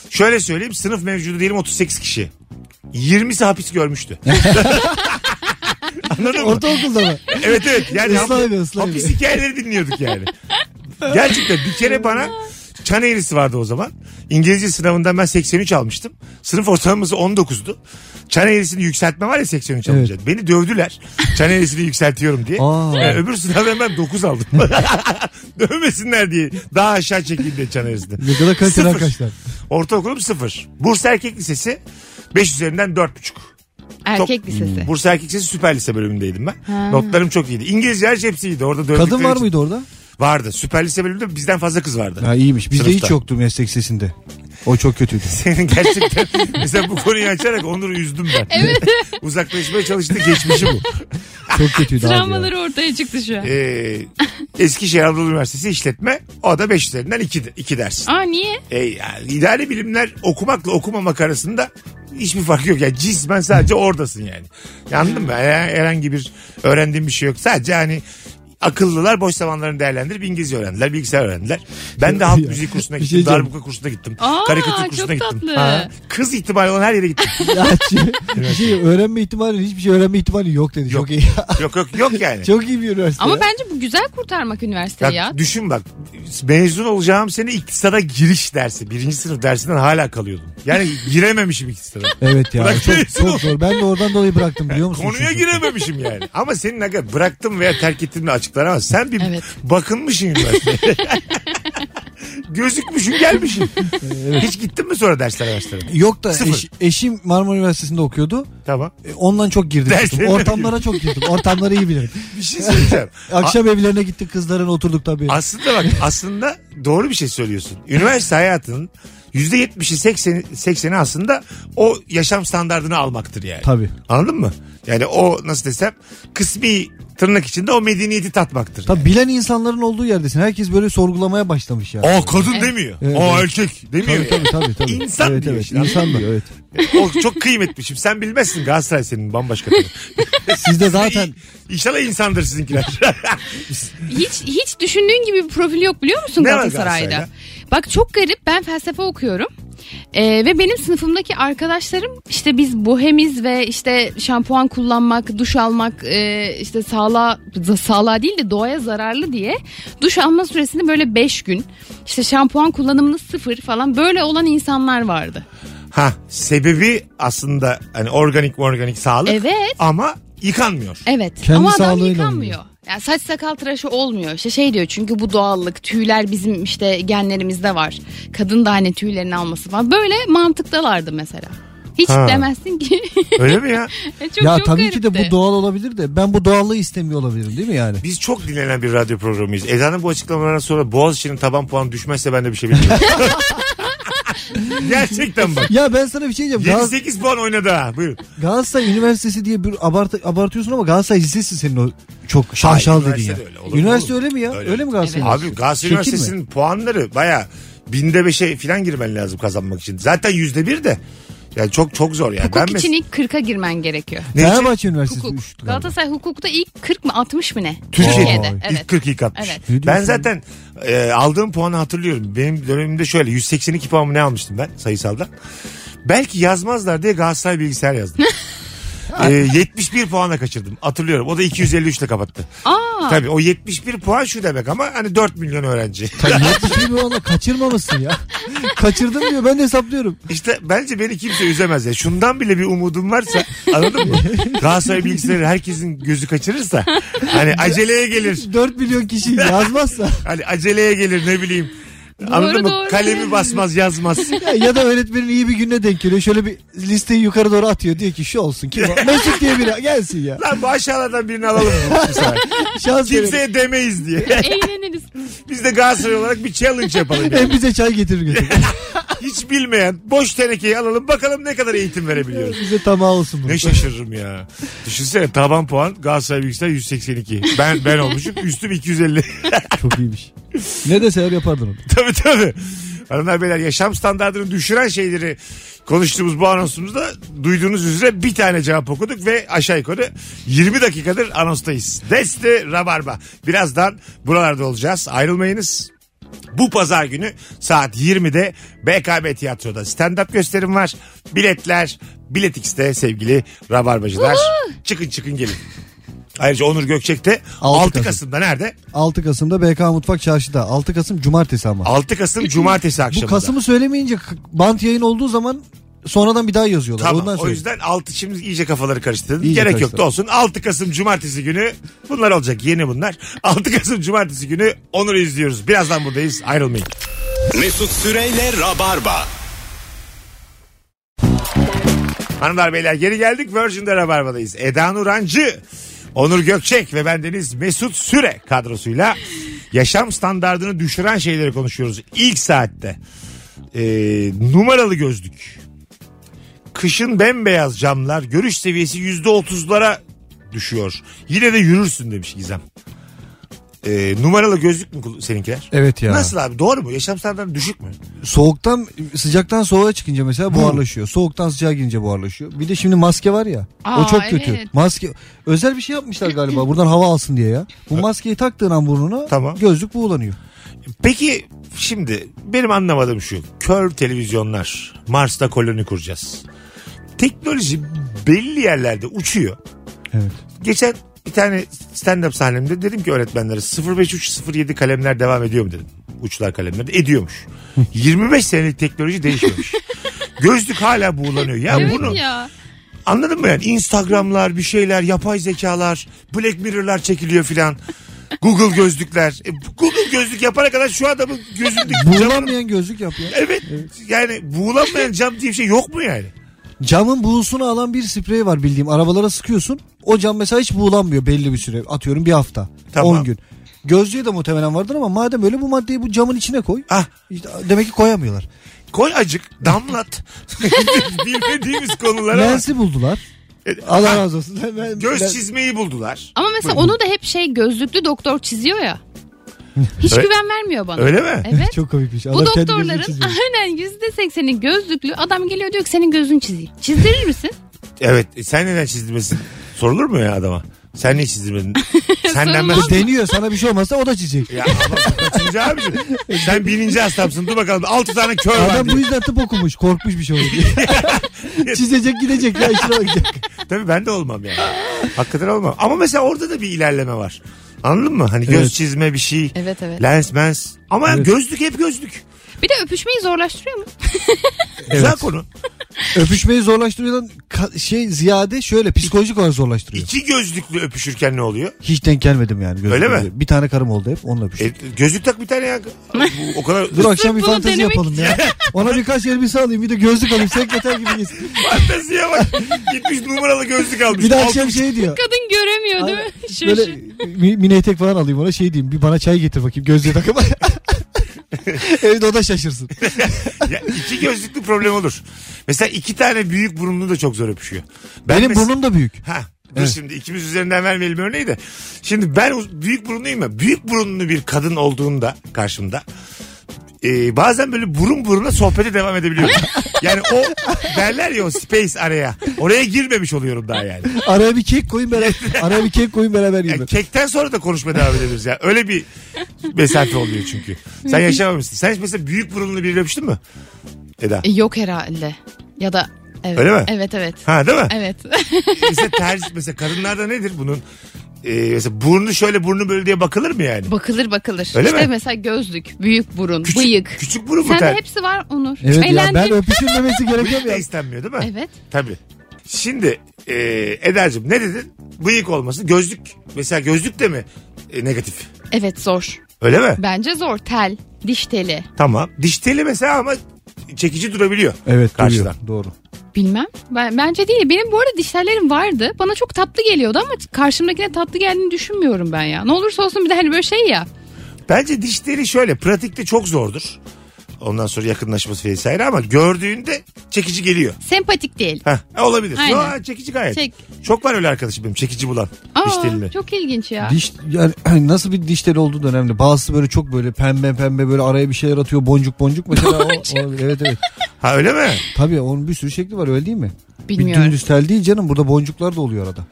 S3: Şöyle söyleyeyim sınıf mevcudu diyelim 38 kişi. 20'si hapis görmüştü. Anladın mı?
S5: Ortaokulda mı?
S3: Evet evet. Yani
S5: Islah
S3: hap-
S5: evi, ıslah
S3: hapis
S5: evi.
S3: hikayeleri dinliyorduk yani. Gerçekten bir kere bana çan eğrisi vardı o zaman. İngilizce sınavından ben 83 almıştım. Sınıf ortalaması 19'du. Çan eğrisini yükseltme var ya 83
S5: Evet.
S3: alınca. Beni dövdüler. Çan eğrisini yükseltiyorum diye.
S5: Aa.
S3: Yani öbür sınavdan ben 9 aldım. Dövmesinler diye. Daha aşağı çekildi çan eğrisini.
S5: Ne kadar kaliteli
S3: Sıfır.
S5: arkadaşlar.
S3: Ortaokulum 0. Bursa Erkek Lisesi 5 üzerinden 4,5.
S4: Erkek
S3: Çok- Hmm.
S4: lisesi.
S3: Bursa Erkek Lisesi Süper Lise bölümündeydim ben. Notlarım çok iyiydi. İngilizce her şey hepsi iyiydi. Orada dövdükleri
S5: Kadın var
S3: için-
S5: mıydı orada?
S3: Vardı. Süper Lise bölümünde bizden fazla kız vardı.
S5: Ha, iyiymiş. Bizde
S3: Sınıfta.
S5: hiç yoktu meslek sesinde. O çok kötüydü.
S3: Senin gerçekten mesela bu konuyu açarak Onur'u üzdüm ben. Evet. Uzaklaşmaya çalıştı geçmişi bu.
S5: Çok kötüydü abi. ya.
S4: Travmaları ortaya çıktı şu an.
S3: Ee, Eskişehir Anadolu Üniversitesi işletme o da 5 üzerinden 2, iki ders.
S4: Aa niye?
S3: E, yani idari bilimler okumakla okumamak arasında hiçbir fark yok. Yani cismen sadece oradasın yani. Anladın mı? Yani herhangi bir öğrendiğim bir şey yok. Sadece hani akıllılar boş zamanlarını değerlendirip İngilizce öğrendiler, bilgisayar öğrendiler. Ben de halk
S5: Ya,
S3: müziği kursuna
S5: bir
S3: gittim,
S5: şey diyeceğim.
S3: darbuka kursuna gittim,
S4: Aa,
S3: karikatür
S4: çok
S3: kursuna gittim.
S4: tatlı.
S3: Kız ihtimali olan her yere gittim.
S5: Ya, şey- bir şey, öğrenme ihtimali hiçbir şey öğrenme ihtimali yok dedi.
S3: Yok.
S5: Çok iyi.
S3: yok yok yok yani.
S5: çok iyi bir üniversite.
S4: Ama
S5: ya.
S4: bence bu güzel kurtarmak
S3: Bak,
S4: üniversiteyi e. ya.
S3: düşün bak mezun olacağım sene iktisada giriş dersi. Birinci sınıf dersinden hala kalıyordum. Yani girememişim iktisada.
S5: Evet ya
S3: Bırak
S5: çok,
S3: birisi
S5: çok
S3: bu.
S5: zor. Ben de oradan dolayı bıraktım biliyor musun?
S3: Konuya
S5: Çünkü.
S3: girememişim yani. Ama senin ne kadar bıraktım veya terk ettiğimle açıklanamaz. Sen bir
S4: Evet.
S3: bakınmışsın üniversiteye. Gözükmüşsün gelmişsin. Hiç gittin mi sonra derslere başladın?
S5: Yok da
S3: Sıfır.
S5: eş- eşim Marmara Üniversitesi'nde okuyordu.
S3: Tamam.
S5: E, ondan çok girdim.
S3: Derslerine
S5: çıktım. Ortamlara çok girdim. Ortamları iyi bilirim.
S3: Bir şey söyleyeceğim.
S5: Akşam evlerine gittik kızların oturduk tabii.
S3: A- aslında bak aslında doğru bir şey söylüyorsun. Üniversite hayatının %70'i 80'i 80'i aslında o yaşam standartını almaktır yani.
S5: Tabii.
S3: Anladın mı? Yani o nasıl desem kısmi tırnak içinde o medeniyeti tatmaktır.
S5: Tabii bilen insanların olduğu yerdesin. Herkes böyle sorgulamaya başlamış ya.
S3: O kadın demiyor.
S5: Evet,
S3: o
S5: evet.
S3: erkek demiyor.
S5: Tabii tabii tabii. tabii.
S3: İnsan
S5: evet,
S3: diyor
S5: evet,
S3: işte,
S5: insan diyor evet.
S3: O çok kıymetmişim. Sen bilmezsin Galatasaray senin bambaşka. tabii.
S5: Sizde zaten
S3: İnşallah insandır sizinkiler.
S4: Hiç hiç düşündüğün gibi bir profil yok biliyor musun
S3: Ne var
S4: Galatasaray'da?
S3: Galatasaray'da?
S4: Bak çok garip ben felsefe okuyorum. Ee, ve benim sınıfımdaki arkadaşlarım işte biz bohemiz ve işte şampuan kullanmak, duş almak e, işte sağlığa, sağlığa değil de doğaya zararlı diye duş alma süresini böyle 5 gün işte şampuan kullanımını sıfır falan böyle olan insanlar vardı.
S3: ha sebebi aslında hani organik organik sağlık.
S4: Evet.
S3: Ama yıkanmıyor.
S4: Evet
S5: Kendi
S4: ama adam
S5: sağlığıyla
S4: yıkanmıyor. Yani saç sakal tıraşı olmuyor. İşte şey diyor çünkü bu doğallık tüyler bizim işte genlerimizde var. Kadın da hani tüylerini alması falan. Böyle mantıktalardı mesela. Hiç
S3: Ha.
S4: demezsin ki.
S3: Öyle mi ya?
S4: çok,
S5: ya
S4: çok
S5: tabii ki de
S4: garipti.
S5: bu doğal olabilir de ben bu doğallığı istemiyor olabilirim değil mi yani?
S3: Biz çok dinlenen bir radyo programıyız. Eda'nın bu açıklamalarından sonra Boğaziçi'nin taban puanı düşmezse ben de bir şey bilmiyorum. Gerçekten bak.
S5: Ya ben sana bir şey diyeceğim. Gal-
S3: 7-8 puan oynadı ha. Buyurun.
S5: Galatasaray Üniversitesi diye bir abart abartıyorsun ama Galatasaray Lisesi senin o çok şaşal
S3: Hayır,
S5: dediğin ya.
S3: üniversite de öyle, olur mu
S5: üniversite
S3: oğlum?
S5: öyle mi ya?
S3: Öyle.
S5: Öyle, mi Galatasaray
S4: Evet.
S5: Lisesi?
S3: Abi Galatasaray
S5: Çirkin mi?
S3: Üniversitesi'nin puanları baya binde beşe falan girmen lazım kazanmak için. Zaten yüzde bir de. Yani çok çok zor yani.
S4: Hukuk
S3: ben
S4: için
S3: mes-
S4: ilk 40'a girmen gerekiyor.
S3: Ne için?
S5: Fenerbahçe Üniversitesi
S4: Hukuk.
S5: üçtü galiba.
S4: Galatasaray hukukta ilk 40 mı 60 mı ne?
S3: Türkiye'de.
S5: Vay.
S4: Evet.
S3: şey İlk 40 ilk atmış.
S4: Evet.
S5: Ne diyorsun?
S3: Ben zaten e, aldığım puanı hatırlıyorum. Benim dönemimde şöyle 182 puan mı ne almıştım ben sayısaldan. Belki yazmazlar diye Galatasaray bilgisayar yazdım. E, 71 puanla kaçırdım. Hatırlıyorum. O da 253 ile kapattı.
S4: Aa.
S3: Tabii o 71 puan şu demek ama hani 4 milyon öğrenci.
S5: Tabii yok bir şey mi ona kaçırmamışsın ya. Kaçırdım diyor ben de hesaplıyorum.
S3: İşte bence beni kimse üzemez ya. Şundan bile bir umudum varsa anladın mı? Galatasaray bilgisayarı herkesin gözü kaçırırsa hani aceleye gelir.
S5: 4 milyon kişi yazmazsa
S3: Hani aceleye gelir ne bileyim. Anladın
S4: Doğru,
S3: mı?
S4: doğru.
S3: Kalemi basmaz yazmaz.
S5: ya, ya da öğretmenin iyi bir gününe denk geliyor. Şöyle bir listeyi yukarı doğru atıyor. Diyor ki şu olsun kim o? Mesut diye biri gelsin ya.
S3: Lan bu aşağılardan birini alalım mı? bu sefer?
S5: Şans verelim.
S3: Kimseye demeyiz diye.
S4: Eğleniriz.
S3: Biz de Galatasaray olarak bir challenge yapalım. yani.
S5: Hem bize çay getirir götürür.
S3: Hiç bilmeyen boş tenekeyi alalım bakalım ne kadar eğitim verebiliyoruz.
S5: bize tamah olsun bunu.
S3: Ne şaşırırım ya. Düşünsene taban puan Galatasaray bilgisayar 182. Ben ben olmuşum üstüm 250.
S5: Çok iyiymiş. Ne deseler yapardın onu.
S3: tabii tabii. Hanımlar beyler yaşam standartını düşüren şeyleri konuştuğumuz bu anonsumuzda duyduğunuz üzere bir tane cevap okuduk ve aşağı yukarı 20 dakikadır anonstayız. Desti Rabarba. Birazdan buralarda olacağız. Ayrılmayınız. Bu pazar günü saat 20'de BKB Tiyatro'da stand-up gösterim var. Biletler Biletix'te sevgili Rabarbacılar. çıkın çıkın gelin. Ayrıca Onur Gökçek de
S5: 6
S3: 6
S5: Kasım.
S3: Kasım'da nerede?
S5: 6 Kasım'da BK Mutfak Çarşı'da. 6 Kasım Cumartesi ama.
S3: 6 Kasım Cumartesi
S5: Bu
S3: akşamında.
S5: Kasım'ı söylemeyince k- bant yayın olduğu zaman sonradan bir daha yazıyorlar.
S3: Tamam
S5: Ondan
S3: o
S5: sonra.
S3: yüzden 6 şimdi iyice kafaları karıştırdım.
S5: İyice
S3: Gerek yok
S5: karıştırdım.
S3: da olsun. 6 Kasım Cumartesi günü bunlar olacak yeni bunlar. 6 Kasım Cumartesi günü Onur'u izliyoruz. Birazdan buradayız ayrılmayın.
S2: Mesut Süreyle Rabarba.
S3: Hanımlar beyler geri geldik Virgin'de Rabarba'dayız. Eda Nurancı, Onur Gökçek ve bendeniz Mesut Süre kadrosuyla yaşam standartını düşüren şeyleri konuşuyoruz ilk saatte. Ee, numaralı gözlük. Kışın bembeyaz camlar görüş seviyesi yüzde otuzlara düşüyor. Yine de yürürsün demiş Gizem. Ee, numaralı gözlük mü kul- seninkiler?
S5: Evet ya.
S3: Nasıl abi doğru mu? Yaşam standartı düşük mü?
S5: Soğuktan sıcaktan soğuğa çıkınca mesela buharlaşıyor. Soğuktan sıcağa girince buharlaşıyor. Bir de şimdi maske var ya. o
S4: Aa,
S5: çok kötü.
S4: evet.
S5: Maske özel bir şey yapmışlar galiba buradan hava alsın diye ya. Bu maskeyi taktığın an burnuna
S3: Tamam.
S5: gözlük buğulanıyor.
S3: Peki şimdi benim anlamadığım şu. Kör televizyonlar. Mars'ta koloni kuracağız. Teknoloji belli yerlerde uçuyor.
S5: Evet.
S3: Geçen bir tane stand-up sahnemde dedim ki öğretmenlere 05307 kalemler devam ediyor mu dedim. Uçlar kalemleri de ediyormuş. 25 senelik teknoloji değişmemiş. Gözlük hala buğulanıyor. Ya
S4: Evet
S3: bunu
S4: ya.
S3: anladın mı yani? Instagramlar bir şeyler yapay zekalar Black Mirror'lar çekiliyor filan. Google gözlükler. E, Google gözlük yapana kadar şu adamın gözünde
S5: Buğulanmayan gözlük yap ya.
S3: Evet. Yani buğulanmayan cam diye bir şey yok mu yani?
S5: Camın buğusunu alan bir sprey var bildiğim. Arabalara sıkıyorsun. O cam mesela hiç buğulanmıyor belli bir süre. Atıyorum bir hafta.
S3: Tamam.
S5: 10 gün. Gözlüğü de muhtemelen vardır ama madem öyle bu maddeyi bu camın içine koy.
S3: Ah
S5: İşte demek ki koyamıyorlar.
S3: koy acık damlat. Bilmediğimiz konulara.
S5: Lensi buldular. Allah razı olsun. Ben- ben-
S3: Ah. Göz çizmeyi buldular.
S4: Ama mesela onu da hep şey gözlüklü doktor çiziyor ya. Hiç
S3: Öyle-
S4: güven vermiyor bana.
S3: Öyle mi?
S4: Evet.
S5: Çok komikmiş.
S4: Bu doktorların aynen yüzde sekseni gözlüklü adam geliyor diyor ki senin gözün çizeyim. Çizdirir misin?
S3: Evet. E, sen neden çizdirmesin? Sorulur mu ya adama? Sen niye çizdirmedin? Senden ben...
S5: Deniyor sana bir şey olmazsa o da çizecek.
S3: Ya ama kaçıncı abicim? Sen bininci hastamsın. Dur bakalım. Altı tane kör var.
S5: Adam bu
S3: diye.
S5: yüzden tıp okumuş. Korkmuş bir şey olur diye. çizecek gidecek ya işine bakacak.
S3: Tabii ben de olmam yani. Hakikaten olmam. Ama mesela orada da bir ilerleme var. Anladın mı? Hani göz
S5: Evet.
S3: çizme bir şey.
S4: Evet evet.
S3: Lens mens. Ama
S5: Evet.
S3: gözlük hep gözlük.
S4: Bir de öpüşmeyi zorlaştırıyor mu?
S3: Güzel konu.
S5: Öpüşmeyi zorlaştırıyordan ka- şey ziyade şöyle psikolojik olarak zorlaştırıyor.
S3: İki gözlüklü öpüşürken ne oluyor?
S5: Hiç denk gelmedim yani. gözlüğe.
S3: Öyle mi?
S5: Bir tane karım oldu hep onunla öpüştüm.
S3: E, gözlük tak bir tane ya. Bu, o kadar
S5: Dur akşam bir
S4: bunu
S5: fantezi
S4: denemek
S5: yapalım ya. Ona birkaç elbise alayım bir de gözlük alayım sekreter gibi gitsin.
S3: fanteziye bak. Gitmiş numaralı gözlük almış.
S5: Bir de
S3: Altı-
S5: akşam şey diyor.
S4: Kadın göremiyor değil mi? Şu,
S5: Böyle
S4: şu.
S5: mi- mini etek falan alayım ona şey diyeyim bir bana çay getir bakayım gözlüğe takıp. Evde o da şaşırsın.
S3: Ya, iki gözlüklü problem olur. Mesela iki tane büyük burunlu da çok zor öpüşüyor. Ben
S5: Benim
S3: mes-
S5: burnum da büyük.
S3: Ha, dur
S5: Evet.
S3: şimdi ikimiz üzerinden vermeyelim örneği de. Şimdi ben uz- büyük burunluyum ya. Büyük burunlu bir kadın olduğunda karşımda e, bazen böyle burun buruna sohbete devam edebiliyorum. yani o derler ya o space araya. Oraya girmemiş oluyorum daha yani.
S5: Araya bir kek koyun beraber. Araya bir kek koyun beraber
S3: yani
S5: yiyelim.
S3: kekten sonra da konuşmaya devam edebiliriz ya. Öyle bir mesafe oluyor çünkü. Sen yaşamamışsın. Sen hiç mesela büyük burunlu biriyle öpüştün mü? Eda.
S4: E, Yok herhalde. Ya da evet.
S3: Öyle mi?
S4: Evet evet.
S3: Ha değil mi?
S4: Evet.
S3: Mesela tercih mesela kadınlarda nedir bunun? Ee, mesela burnu şöyle burnu böyle diye bakılır mı yani?
S4: bakılır bakılır.
S3: Öyle
S4: işte
S3: mi?
S4: mesela gözlük, büyük burun, bıyık.
S3: Küçük burun mu
S4: Sende
S3: ter?
S4: hepsi var Onur.
S5: Evet ya ben
S4: Eğlendim.
S5: öpüşülmemesi gerekiyor
S3: Bıyık
S5: mu
S3: da
S5: ya?
S3: istenmiyor değil mi?
S4: Evet.
S3: Tabii. Şimdi e, Eda'cığım ne dedin? Bıyık olması gözlük. Mesela gözlük de mi e, negatif?
S4: Evet zor.
S3: Öyle mi?
S4: Bence zor. Tel, diş teli.
S3: Tamam. Diş teli mesela ama çekici durabiliyor.
S5: Evet
S3: Karşıdan.
S5: duruyor. Doğru.
S4: Bilmem. Ben, bence değil. Benim bu arada diş tellerim vardı. Bana çok tatlı geliyordu ama karşımdakine tatlı geldiğini düşünmüyorum ben ya. Ne olursa olsun bir de hani böyle şey ya.
S3: Bence diş teli şöyle pratikte çok zordur. Ondan sonra yakınlaşması vesaire ama gördüğünde çekici geliyor.
S4: Sempatik değil.
S3: Heh, e, olabilir.
S4: Aynen.
S3: Yo, çekici gayet.
S4: Çek.
S3: Çok var öyle arkadaşım benim çekici bulan. diş
S4: Aa,
S3: telini.
S4: çok ilginç ya.
S5: Diş yani hani nasıl bir diş teli olduğu da önemli. Bazısı böyle çok böyle pembe pembe böyle araya bir şeyler atıyor boncuk boncuk mesela. O- o- evet evet.
S3: Ha öyle mi?
S5: Tabii onun bir sürü şekli var öyle değil mi?
S4: Bilmiyorum.
S5: Bir dümdüz tel değil canım burada boncuklar da oluyor arada.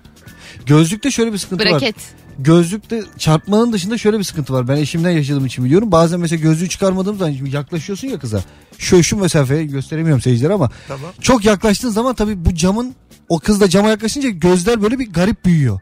S5: Gözlükte şöyle bir sıkıntı var.
S4: Braket.
S5: gözlükte çarpmanın dışında şöyle bir sıkıntı var. Ben eşimden yaşadığım için biliyorum. Bazen mesela gözlüğü çıkarmadığım zaman şimdi yaklaşıyorsun ya kıza. Şu şu mesafeye gösteremiyorum seyircilere ama
S3: Tamam.
S5: çok yaklaştığın zaman tabii bu camın o kız da cama yaklaşınca gözler böyle bir garip büyüyor.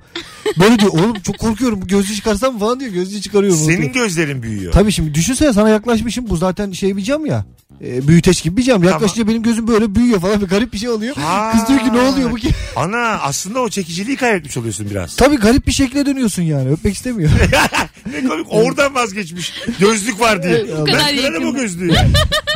S5: Böyle diyor oğlum çok korkuyorum bu gözlüğü çıkarsam mı?" falan diyor gözlüğü çıkarıyorum.
S3: Senin
S5: Senin...
S3: gözlerin büyüyor.
S5: Tabii şimdi düşünsene sana yaklaşmışım bu zaten şey bir cam ya. E, büyüteç gibi bir cam. Yaklaşınca benim gözüm böyle büyüyor falan bir garip bir şey oluyor.
S3: Ha.
S5: Kız diyor ki ne oluyor bu ki?
S3: Ana aslında o çekiciliği kaybetmiş oluyorsun biraz.
S5: Tabii garip bir şekle dönüyorsun yani öpmek istemiyor.
S3: Ne komik oradan vazgeçmiş. Gözlük var diye.
S5: O
S4: kadar
S3: ben kırarım
S4: yakın.
S3: o gözlüğü.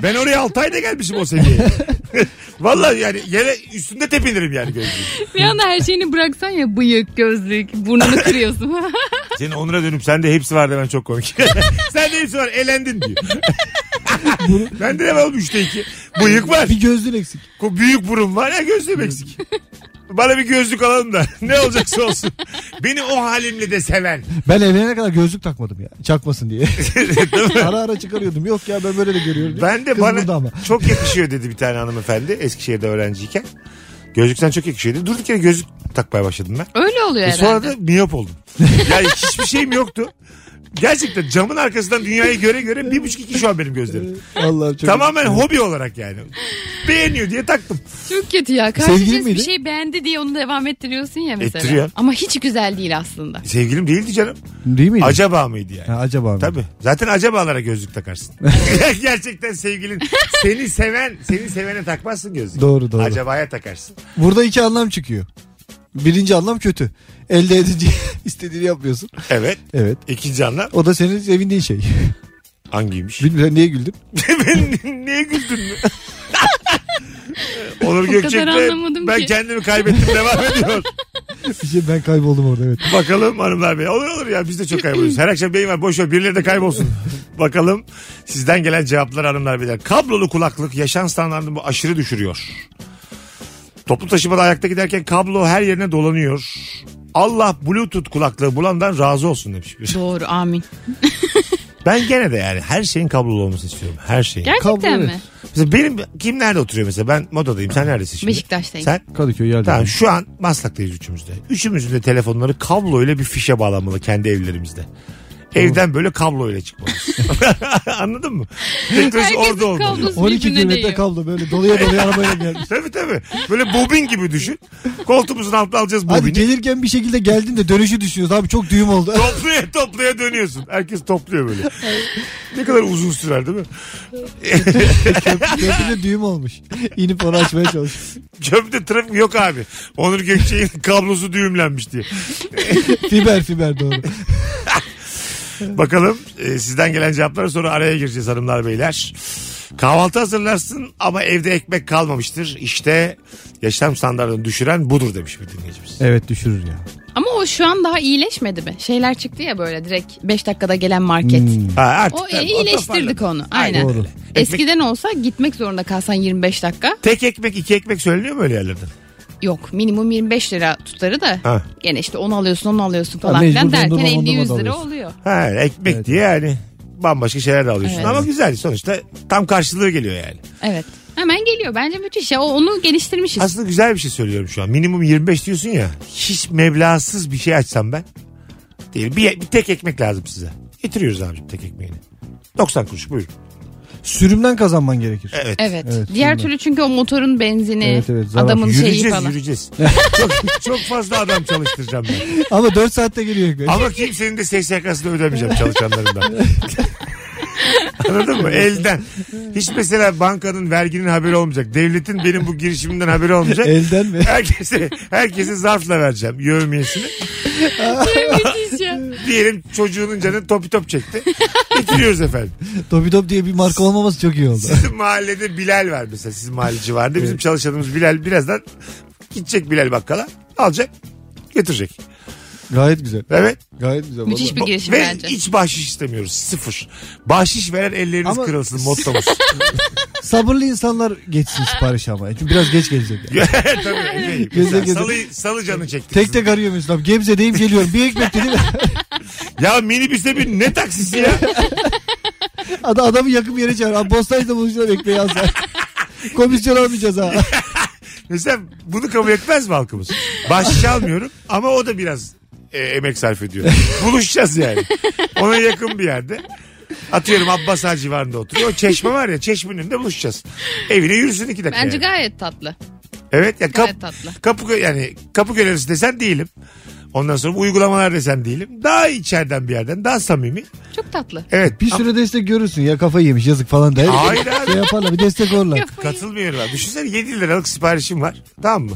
S3: ben oraya 6 ayda gelmişim o seviyeye. Vallahi yani yere üstünde tepinirim yani gözlüğü.
S4: Bir anda her şeyini bıraksan ya bıyık, gözlük, burnunu kırıyorsun.
S3: Senin onura dönüp sende hepsi var demen çok komik. sende hepsi var elendin diyor. Bende de var oğlum üçte iki. Bıyık var.
S5: bir gözlüğün eksik.
S3: Ko- Büyük burun var ya gözlüğüm eksik. Bana bir gözlük alalım da ne olacaksa olsun. Beni o halimle de seven.
S5: Ben evlenene kadar gözlük takmadım ya. Çakmasın diye. ara ara çıkarıyordum. Yok ya ben böyle de görüyorum. diye.
S3: Ben de
S5: Kız
S3: bana
S5: burada ama.
S3: çok yakışıyor dedi bir tane hanımefendi Eskişehir'de öğrenciyken. Gözlükten çok yakışıyor dedi. Durduk yere gözlük takmaya başladım ben.
S4: Öyle oluyor
S3: E
S4: herhalde.
S3: sonra da miyop oldum. yani hiçbir şeyim yoktu. Gerçekten camın arkasından dünyayı göre göre bir buçuk iki şu an benim gözlerim.
S5: Vallahi çok
S3: Tamamen hobi olarak yani. Beğeniyor diye taktım.
S4: Çok kötü ya.
S5: Sevgilin
S4: Karşı cins bir
S5: miydi?
S4: şey beğendi diye onu devam ettiriyorsun ya mesela.
S3: Ettiriyor.
S4: Ama hiç güzel değil aslında.
S3: Sevgilim değildi canım.
S5: Değil miydi?
S3: Acaba mıydı yani?
S5: Ha, acaba mı?
S3: Tabii. Zaten acabalara gözlük takarsın. Gerçekten sevgilin seni seven, seni sevene takmazsın gözlük.
S5: Doğru, doğru.
S3: Acabaya takarsın.
S5: Burada iki anlam çıkıyor. Birinci anlam kötü. Elde edince istediğini yapmıyorsun.
S3: Evet.
S5: Evet.
S3: İkinci anlam
S5: O da senin sevindiğin şey.
S3: hangiymiş?
S5: Bilmiyorum niye güldün?
S3: ben niye güldün mü? Onur
S4: kadar
S3: Gökçek
S4: anlamadım
S3: ben
S4: ki.
S3: kendimi kaybettim devam ediyor.
S5: Bir şey, ben kayboldum orada evet.
S3: Bakalım hanımlar beyler. Olur olur ya biz de çok kayboluyoruz. Her akşam beyin var boş ver birileri de kaybolsun. Bakalım sizden gelen cevaplar hanımlar beyler. Kablolu kulaklık yaşam standartını aşırı düşürüyor. Toplu taşımada ayakta giderken kablo her yerine dolanıyor. Allah bluetooth kulaklığı bulandan razı olsun demiş. biri.
S4: Doğru amin.
S3: Ben gene de yani her şeyin kablolu olmasını istiyorum. Her şeyin.
S4: Gerçekten
S5: Kablo,
S4: mi?
S5: evet.
S3: Mesela benim kim nerede oturuyor mesela? Ben modadayım. Sen neredesin şimdi?
S4: Beşiktaş'tayım.
S3: Sen?
S5: Kadıköy geldi.
S3: Tamam şu an Maslak'tayız üçümüz de. Üçümüzün de telefonları kablo ile bir fişe bağlanmalı kendi evlerimizde. Evden böyle kablo ile çıkmalıyız. Anladın mı? Teknoloji
S4: Herkesin
S3: orada olmalı.
S4: kablosu
S5: 12
S4: birbirine
S5: kilometre
S4: değiyor.
S5: kablo böyle doluya doluya arabayla geldi.
S3: Tabii tabii. Böyle bobin gibi düşün. Koltuğumuzun altına alacağız
S5: Hadi
S3: bobini.
S5: gelirken bir şekilde geldin de dönüşü düşünüyoruz abi çok düğüm oldu.
S3: Toplaya toplaya dönüyorsun. Herkes topluyor böyle. ne kadar uzun sürer değil mi?
S5: Köprüde düğüm olmuş. İnip onu açmaya çalışıyorsun.
S3: Köprüde trafik yok abi. Onur Gökçe'nin kablosu düğümlenmiş diye.
S5: Fiber fiber doğru.
S3: Bakalım e, sizden gelen cevaplara sonra araya gireceğiz hanımlar beyler. Kahvaltı hazırlarsın ama evde ekmek kalmamıştır. İşte yaşam standartını düşüren budur demiş bir dinleyicimiz.
S5: Evet düşürür ya.
S4: Ama o şu an daha iyileşmedi mi? Şeyler çıktı ya böyle direkt 5 dakikada gelen market.
S3: Ha, artık
S4: O e,
S3: tabii,
S4: iyileştirdik
S3: toparladı.
S4: onu. Aynen.
S5: Hmm. Doğru.
S4: Eskiden olsa gitmek zorunda kalsan 25 dakika.
S3: Tek ekmek iki ekmek söyleniyor mu öyle yerlerden?
S4: Yok minimum 25 lira tutarı da
S3: Ha.
S4: gene işte onu alıyorsun onu alıyorsun
S5: Ha,
S4: falan
S5: mecbur
S4: filan
S5: dondurma,
S4: derken
S5: dondurma da
S4: 50-100 lira
S5: alıyorsun.
S4: oluyor.
S3: Ha, ekmek
S5: Evet.
S3: diye yani bambaşka şeyler de alıyorsun.
S4: Evet.
S3: Ama güzel sonuçta tam karşılığı geliyor yani.
S4: Evet. Hemen geliyor. Bence müthiş ya. O- Onu geliştirmişiz.
S3: Aslında güzel bir şey söylüyorum şu an. Minimum 25 diyorsun ya. Hiç meblasız bir şey açsam ben. Değil. Bir, bir tek ekmek lazım size. Getiriyoruz abicim tek ekmeğini. 90 kuruş buyur.
S5: Sürümden kazanman gerekir.
S3: Evet.
S4: evet.
S5: Evet,
S4: Diğer
S5: bilmem.
S4: türlü çünkü o motorun benzini,
S5: Evet, evet, zarar.
S4: adamın şeyi
S3: Yürüyeceğiz
S4: falan.
S3: yürüyeceğiz. çok, çok fazla adam çalıştıracağım ben.
S5: Ama 4 saatte geliyor ekmek.
S3: Ama kimsenin de SSK'sını ödemeyeceğim çalışanlarından. Anladın mı? Elden. Hiç mesela bankanın verginin haberi olmayacak. Devletin benim bu girişimimden haberi olmayacak.
S5: Elden mi?
S3: Herkese, herkese zarfla vereceğim yövmiyesini.
S4: Müthiş ya.
S3: Diyelim çocuğunun canı topi top çekti. Bitiriyoruz efendim.
S5: Topi Top diye bir marka olmaması çok iyi oldu.
S3: Sizin mahallede Bilal var mesela. Sizin mahalle civarında. Bizim çalışanımız Bilal birazdan gidecek Bilal bakkala. Alacak. Götürecek.
S5: Gayet güzel.
S3: Evet.
S5: Gayet güzel.
S4: Müthiş
S5: vallahi.
S4: bir girişim
S3: Ve
S4: bence.
S3: hiç bahşiş istemiyoruz. Sıfır. Bahşiş veren elleriniz
S5: Ama-
S3: kırılsın mottomuz.
S5: Sabırlı insanlar geçsin sipariş ama. Çünkü biraz geç gelecek. yani.
S3: Tabii. iyi.
S5: Geze
S3: Mesela
S5: geze.
S3: Salı, salı canı çekti.
S5: Tek tek arıyor mesela. Gebze'deyim geliyorum. Bir ekmek dedim.
S3: Ya minibüste bir ne taksisi ya?
S5: Adam, adamı yakın bir yere çağır. Abi Bostancı'da buluşalım ekmeği alsa. Komisyon almayacağız ha.
S3: Mesela bunu kabul etmez mi halkımız? Bahşiş almıyorum ama o da biraz e, emek sarf ediyor. Buluşacağız yani. Ona yakın bir yerde. Atıyorum Abbas Ağa civarında oturuyor. O çeşme var ya çeşmenin önünde buluşacağız. Evine yürüsün iki dakika.
S4: Bence
S3: yani.
S4: gayet tatlı.
S3: Evet ya kap,
S4: Gayet tatlı.
S3: kapı gö- yani kapı görevlisi desen değilim. Ondan sonra bu uygulamalar desen değilim. Daha içeriden bir yerden daha samimi.
S4: Çok tatlı.
S3: Evet.
S5: Bir şey
S3: Ama-
S5: süre destek görürsün ya kafayı yemiş yazık falan der.
S3: Hayır abi.
S5: Şey yaparlar bir destek olurlar.
S3: Katılmıyorlar. Düşünsene 7 liralık siparişim var. Tamam mı?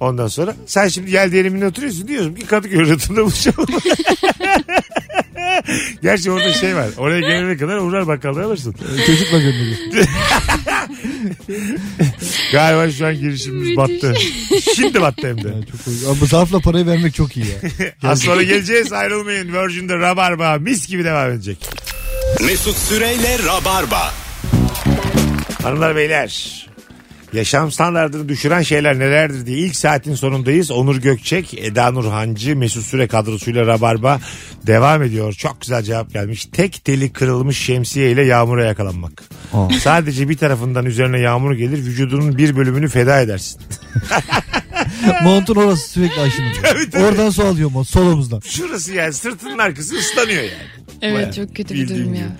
S3: Ondan sonra sen şimdi gel diyelimine oturuyorsun diyorsun ki Kadıköy rotunda buluşalım. Gerçi orada şey var. Oraya gelene kadar uğrar bakkaldan alırsın.
S5: Çocuk bakıyor dedi.
S3: Galiba şu an girişimimiz
S4: Müthiş.
S3: battı. Şimdi battı hem de.
S5: Ya çok iyi. Ama zarfla parayı vermek çok iyi ya.
S3: Az sonra geleceğiz ayrılmayın. Virgin'de Rabarba mis gibi devam edecek.
S2: Mesut Süreyle Rabarba.
S3: Hanımlar beyler yaşam standartını düşüren şeyler nelerdir diye ilk saatin sonundayız. Onur Gökçek, Eda Nurhancı, Mesut Süre kadrosuyla Rabarba devam ediyor. Çok güzel cevap gelmiş. Tek teli kırılmış şemsiye ile yağmura yakalanmak.
S5: Aa.
S3: Sadece bir tarafından üzerine yağmur gelir vücudunun bir bölümünü feda edersin.
S5: Montun orası sürekli aşınır. Oradan su alıyor mont solumuzdan.
S3: Şurası yani sırtının arkası ıslanıyor yani.
S4: Evet
S3: Bayağı
S4: çok kötü bir
S3: bildiğin
S4: durum
S3: gibi.
S4: ya.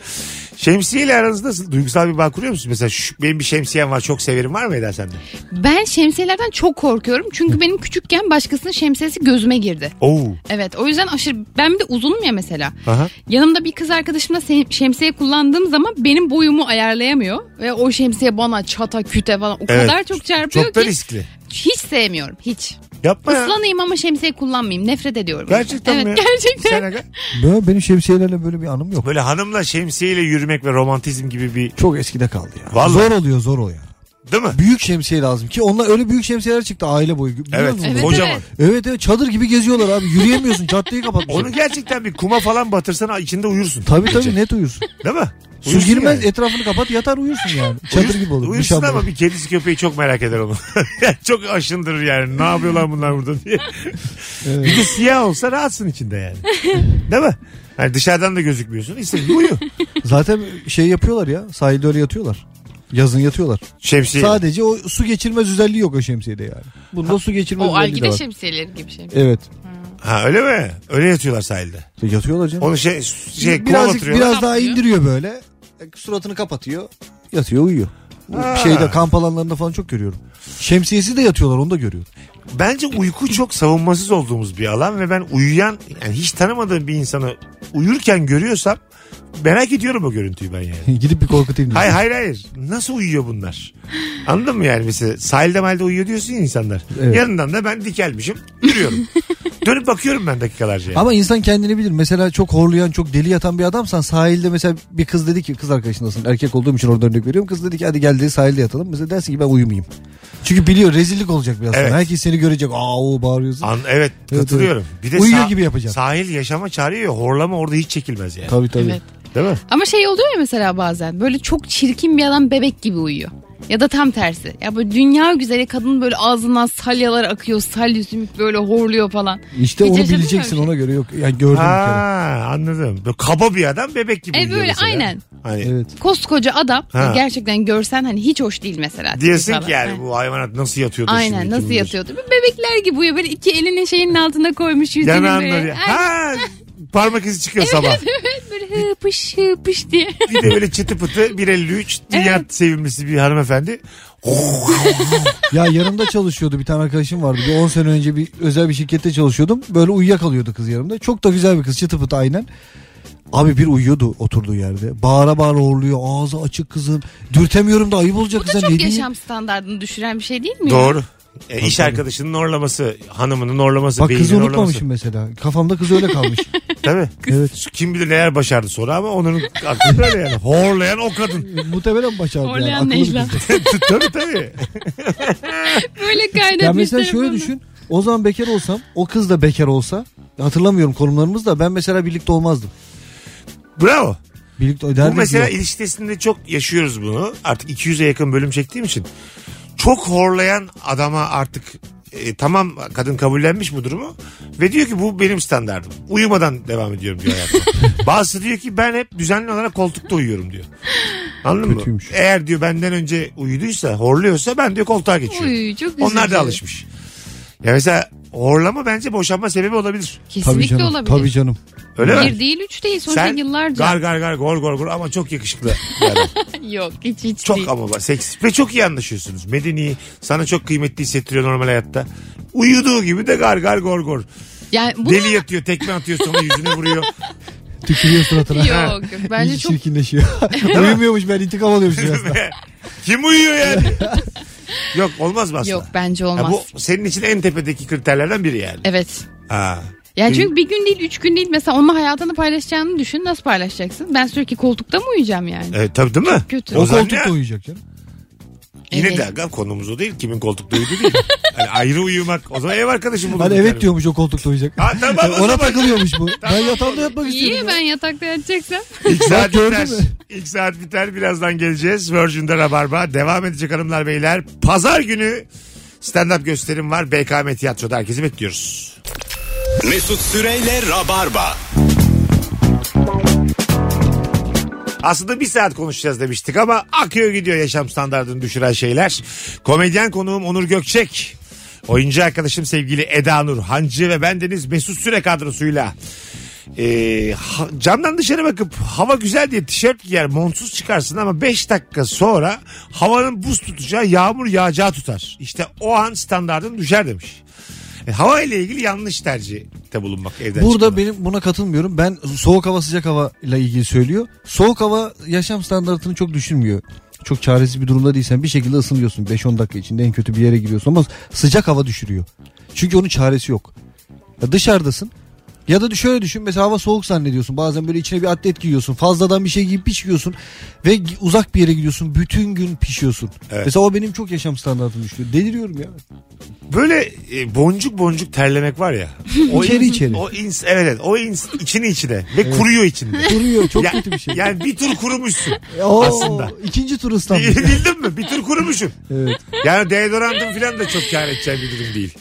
S3: Şemsiye ile aranızda nasıl? Duygusal bir bağ kuruyor musun? Mesela şu, benim bir şemsiyem var çok severim var mı Eda sende?
S4: Ben şemsiyelerden çok korkuyorum. Çünkü benim küçükken başkasının şemsiyesi gözüme girdi.
S3: Oo.
S4: Evet o yüzden aşırı ben bir de uzunum ya mesela.
S3: Aha.
S4: Yanımda bir kız arkadaşımla se- şemsiye kullandığım zaman benim boyumu ayarlayamıyor. Ve o şemsiye bana çata küte falan o
S3: Evet.
S4: kadar çok çarpıyor
S3: Çok da
S4: ki
S3: riskli.
S4: hiç sevmiyorum hiç.
S3: Yapma ya.
S4: Islanayım ama şemsiye kullanmayayım nefret ediyorum.
S3: Gerçekten
S4: evet,
S3: mi?
S4: Gerçekten.
S3: Sen Aga?
S5: Böyle benim şemsiyelerle böyle bir anım yok.
S3: Böyle hanımla şemsiyeyle yürümek ve romantizm gibi bir
S5: Çok eskide kaldı ya.
S3: Vallahi.
S5: Zor oluyor zor o ya.
S3: değil mi?
S5: Büyük şemsiye lazım ki onlar öyle büyük şemsiyeler çıktı aile boyu. Biliyor
S3: Evet,
S5: musun?
S4: Evet,
S3: kocaman.
S4: evet.
S5: Evet evet çadır gibi geziyorlar abi. Yürüyemiyorsun caddeyi kapatmışlar.
S3: Onu gerçekten bir kuma falan batırsan içinde uyursun.
S5: Tabii tabii
S3: Gece.
S5: net uyursun.
S3: Değil mi?
S5: Su
S3: Uyursun
S5: girmez
S3: yani.
S5: etrafını kapat yatar uyursun yani. Çadır
S3: Uyursun-
S5: gibi olur. şey
S3: Uyursun
S5: nişan
S3: ama
S5: olur.
S3: bir kedisi köpeği çok merak eder onu. çok aşındırır yani. Ne yapıyorlar bunlar burada diye. Bir de siyah olsa rahatsın içinde yani. Değil mi? Hani dışarıdan da gözükmüyorsun. İstediğin uyu.
S5: Zaten şey yapıyorlar ya sahilde öyle yatıyorlar. Yazın yatıyorlar.
S3: Şemsiye.
S5: Sadece o su geçirmez özelliği yok o şemsiyede yani. Bunda su geçirmez
S4: O
S5: özelliği de
S4: algide
S5: var.
S4: şemsiyeleri gibi şey.
S5: Evet.
S3: Ha öyle mi? Öyle yatıyorlar sahilde.
S5: E, Yatıyorlar canım.
S3: Onu şey, şey kuma
S5: Birazcık
S3: batırıyorlar.
S5: biraz daha
S4: Kapatıyor.
S5: indiriyor böyle. E, Suratını kapatıyor. Yatıyor uyuyor. Bu
S3: Ha.
S5: Şeyde kamp alanlarında falan çok görüyorum. Şemsiyesi de yatıyorlar onu da görüyorum.
S3: Bence uyku çok savunmasız olduğumuz bir alan ve ben uyuyan yani hiç tanımadığım bir insanı uyurken görüyorsam merak ediyorum o görüntüyü ben yani.
S5: Gidip bir korkutayım diye.
S3: Hayır hayır hayır. Nasıl uyuyor bunlar? Anladın mı yani mesela sahilde malde uyuyor diyorsun ya insanlar.
S5: Evet.
S3: Yanından da ben dikelmişim yürüyorum. Dönüp bakıyorum ben dakikalarca. yani.
S5: Ama insan kendini bilir. Mesela çok horlayan, çok deli yatan bir adamsan sahilde mesela bir kız dedi ki kız arkadaşındasın. Erkek olduğum için orada örnek veriyorum. Kız dedi ki hadi gel dedi sahilde yatalım. Mesela dersin ki ben uyumayayım. Çünkü biliyor rezillik olacak biraz.
S3: Evet.
S5: sonra. Herkes seni görecek. Aa o bağırıyorsun.
S3: An- evet
S5: Evet,
S3: katılıyorum.
S5: evet.
S3: Bir de
S5: Uyuyor gibi yapacağım.
S3: Sahil yaşama çağırıyor ya horlama orada hiç çekilmez yani.
S5: Tabii tabii.
S4: Evet.
S3: Değil mi?
S4: Ama şey oluyor ya mesela bazen böyle çok çirkin bir adam bebek gibi uyuyor. Ya da tam tersi. Ya böyle dünya güzeli kadının böyle ağzından salyalar akıyor, salyüzüm böyle horluyor falan.
S5: İşte
S4: Hiç
S5: onu
S4: yaşadın mı
S5: bileceksin
S4: öyle şey?
S5: ona göre yok. Yani gördüm bir kere.
S3: Ha anladım. Böyle kaba bir adam bebek gibi.
S4: E,
S3: gidiyor
S4: böyle,
S3: mesela.
S4: aynen.
S3: Hani
S5: Evet.
S4: Koskoca adam
S3: Ha.
S4: gerçekten görsen hani hiç hoş değil mesela.
S3: Diyesin
S4: Falan.
S3: ki yani
S4: Aynen.
S3: bu hayvanat nasıl yatıyordu şimdi?
S4: Aynen
S3: kim
S4: nasıl
S3: bilir?
S4: yatıyordu? Bebekler gibi uyuyor. Böyle iki elini şeyinin altına koymuş yüzünü.
S3: Yanağında
S4: böyle.
S3: bir- Ha parmak izi çıkıyor sabah.
S4: böyle hıpış hıpış diye.
S3: Bir de böyle çıtı pıtı 1.53 dünya sevimlisi bir hanımefendi.
S5: Ya yanımda çalışıyordu bir tane arkadaşım vardı. Bir 10 sene önce bir özel bir şirkette çalışıyordum. Böyle uyuyakalıyordu kız yanımda. Çok da güzel bir kız çıtı pıtı aynen. Abi bir uyuyordu oturduğu yerde. Bağıra bağıra horluyor. Ağzı açık kızın. Dürtemiyorum da ayıp olacak
S4: Bu da
S5: kıza. ne
S4: çok
S5: diyeyim?
S4: yaşam standartını düşüren bir şey değil mi? ya?
S3: Doğru. E, iş arkadaşının orlaması, hanımının orlaması,
S5: Bak
S3: beyinin
S5: kızı
S3: orlaması.
S5: unutmamışım mesela. Kafamda kız öyle kalmış.
S3: Tabii.
S5: Evet.
S3: Kim bilir neler başardı sonra ama onun aklında öyle yani. Horlayan o kadın.
S5: E, Muhtemelen başardı yani.
S4: Horlayan
S5: Akıllı bir
S4: Necla.
S5: kızdı.
S3: tabii tabii.
S4: Böyle kaynatmış.
S5: Ya mesela şöyle
S4: telefonunu.
S5: düşün. O zaman bekar olsam, o kız da bekar olsa, hatırlamıyorum konumlarımız da ben mesela birlikte olmazdım.
S3: Bravo.
S5: Birlikte
S3: Bu
S5: derdik
S3: mesela
S5: ya.
S3: ilişkisinde çok yaşıyoruz bunu. Artık 200'e yakın bölüm çektiğim için. Çok horlayan adama artık e, tamam kadın kabullenmiş bu durumu ve diyor ki bu benim standardım. Uyumadan devam ediyorum diyor hayatıma. Bazısı diyor ki ben hep düzenli olarak koltukta uyuyorum diyor. Anladın
S5: Kötüymüş.
S3: mı? Eğer diyor benden önce uyuduysa, horluyorsa ben diyor koltuğa geçiyorum.
S4: Uy, çok üzücü.
S3: Onlar da alışmış. Ya mesela horlama bence boşanma sebebi olabilir.
S5: Tabii
S4: Kesinlikle
S5: canım.
S4: olabilir.
S5: Tabii canım.
S3: Öyle mi?
S4: Bir değil üç değil sonuçta
S3: Sen
S4: yıllarca.
S3: gar gar gar gor gor gor ama çok yakışıklı. bir adam.
S4: Yok hiç hiç değil.
S3: Çok ama bak seks ve çok iyi anlaşıyorsunuz. Medeni sana çok kıymetli hissettiriyor normal hayatta. Uyuduğu gibi de gar gar gor gor.
S4: Yani bunu...
S3: Deli yatıyor tekme atıyor sonra yüzüne vuruyor.
S5: Tükürüyor suratına.
S4: Yok yok bence
S5: İyice
S4: çok
S5: çirkinleşiyor. Uyumuyormuş ben intikam alıyormuşum aslında.
S3: Kim uyuyor yani? Yok olmaz mı aslında?
S4: yok bence olmaz.
S3: Ya bu senin için en tepedeki kriterlerden biri yani.
S4: Evet.
S3: Ha.
S4: Yani çünkü bir gün değil üç gün değil mesela onunla hayatını paylaşacağını düşün nasıl paylaşacaksın? Ben sürekli koltukta mı uyuyacağım yani?
S3: E, tabii değil mi?
S4: Kötü.
S5: O
S3: O zaman
S5: koltukta
S3: ne?
S5: uyuyacak canım.
S3: Yine
S4: Evet.
S3: de aga konumuz o değil. Kimin koltukta uyuduğu değil. Hani ayrı uyumak. O zaman ev arkadaşı bulur.
S5: Hani
S3: bir
S5: evet
S3: tane.
S5: diyormuş o koltukta uyuyacak.
S3: Ha, tamam, o
S5: Ona
S3: zaman.
S5: takılıyormuş bu. Ben yatağımda yatmak istiyorum.
S4: İyi
S5: ya.
S4: ben yatakta yatacaksam.
S3: İlk saat
S5: gördün
S3: biter.
S5: mü?
S3: İlk saat biter. Birazdan geleceğiz. Virgin'de Rabarba. Devam edecek hanımlar beyler. Pazar günü stand-up gösterim var. BKM Tiyatro'da herkesi bekliyoruz.
S2: Mesut Süreyle Rabarba.
S3: Aslında bir saat konuşacağız demiştik ama akıyor gidiyor yaşam standartını düşüren şeyler. Komedyen konuğum Onur Gökçek. Oyuncu arkadaşım sevgili Eda Nur Hancı ve bendeniz Mesut Süre kadrosuyla. Ee, ha- camdan dışarı bakıp hava güzel diye tişört giyer montsuz çıkarsın ama 5 dakika sonra havanın buz tutacağı yağmur yağacağı tutar. İşte o an standartın düşer demiş. E, hava ile ilgili yanlış tercihte bulunmak evden
S5: Burada
S3: çıkmadan.
S5: benim buna katılmıyorum. Ben soğuk hava sıcak hava ile ilgili söylüyor. Soğuk hava yaşam standartını çok düşünmüyor. Çok çaresiz bir durumda değilsen bir şekilde ısınıyorsun. 5-10 dakika içinde en kötü bir yere giriyorsun ama sıcak hava düşürüyor. Çünkü onun çaresi yok. Ya dışarıdasın. Ya da şöyle düşün mesela hava soğuk zannediyorsun. Bazen böyle içine bir atlet giyiyorsun. Fazladan bir şey giyip pişiyorsun. Ve gi- uzak bir yere gidiyorsun. Bütün gün pişiyorsun.
S3: Evet.
S5: Mesela o benim çok yaşam standartımı düşürüyor. Deliriyorum ya.
S3: Böyle e, boncuk boncuk terlemek var ya.
S5: İçeri
S3: ins-
S5: içeri.
S3: O ins, evet, evet o ins, içini içine ve kuruyor içinde.
S5: Duruyor çok
S3: Ya-
S5: kötü bir şey.
S3: Yani bir tur kurumuşsun.
S5: Oo,
S3: aslında.
S5: İkinci tur ıslanmış.
S3: Bildin mi? Bir tur kurumuşsun.
S5: evet.
S3: Yani deodorantın falan da çok kar edeceğin bir durum değil.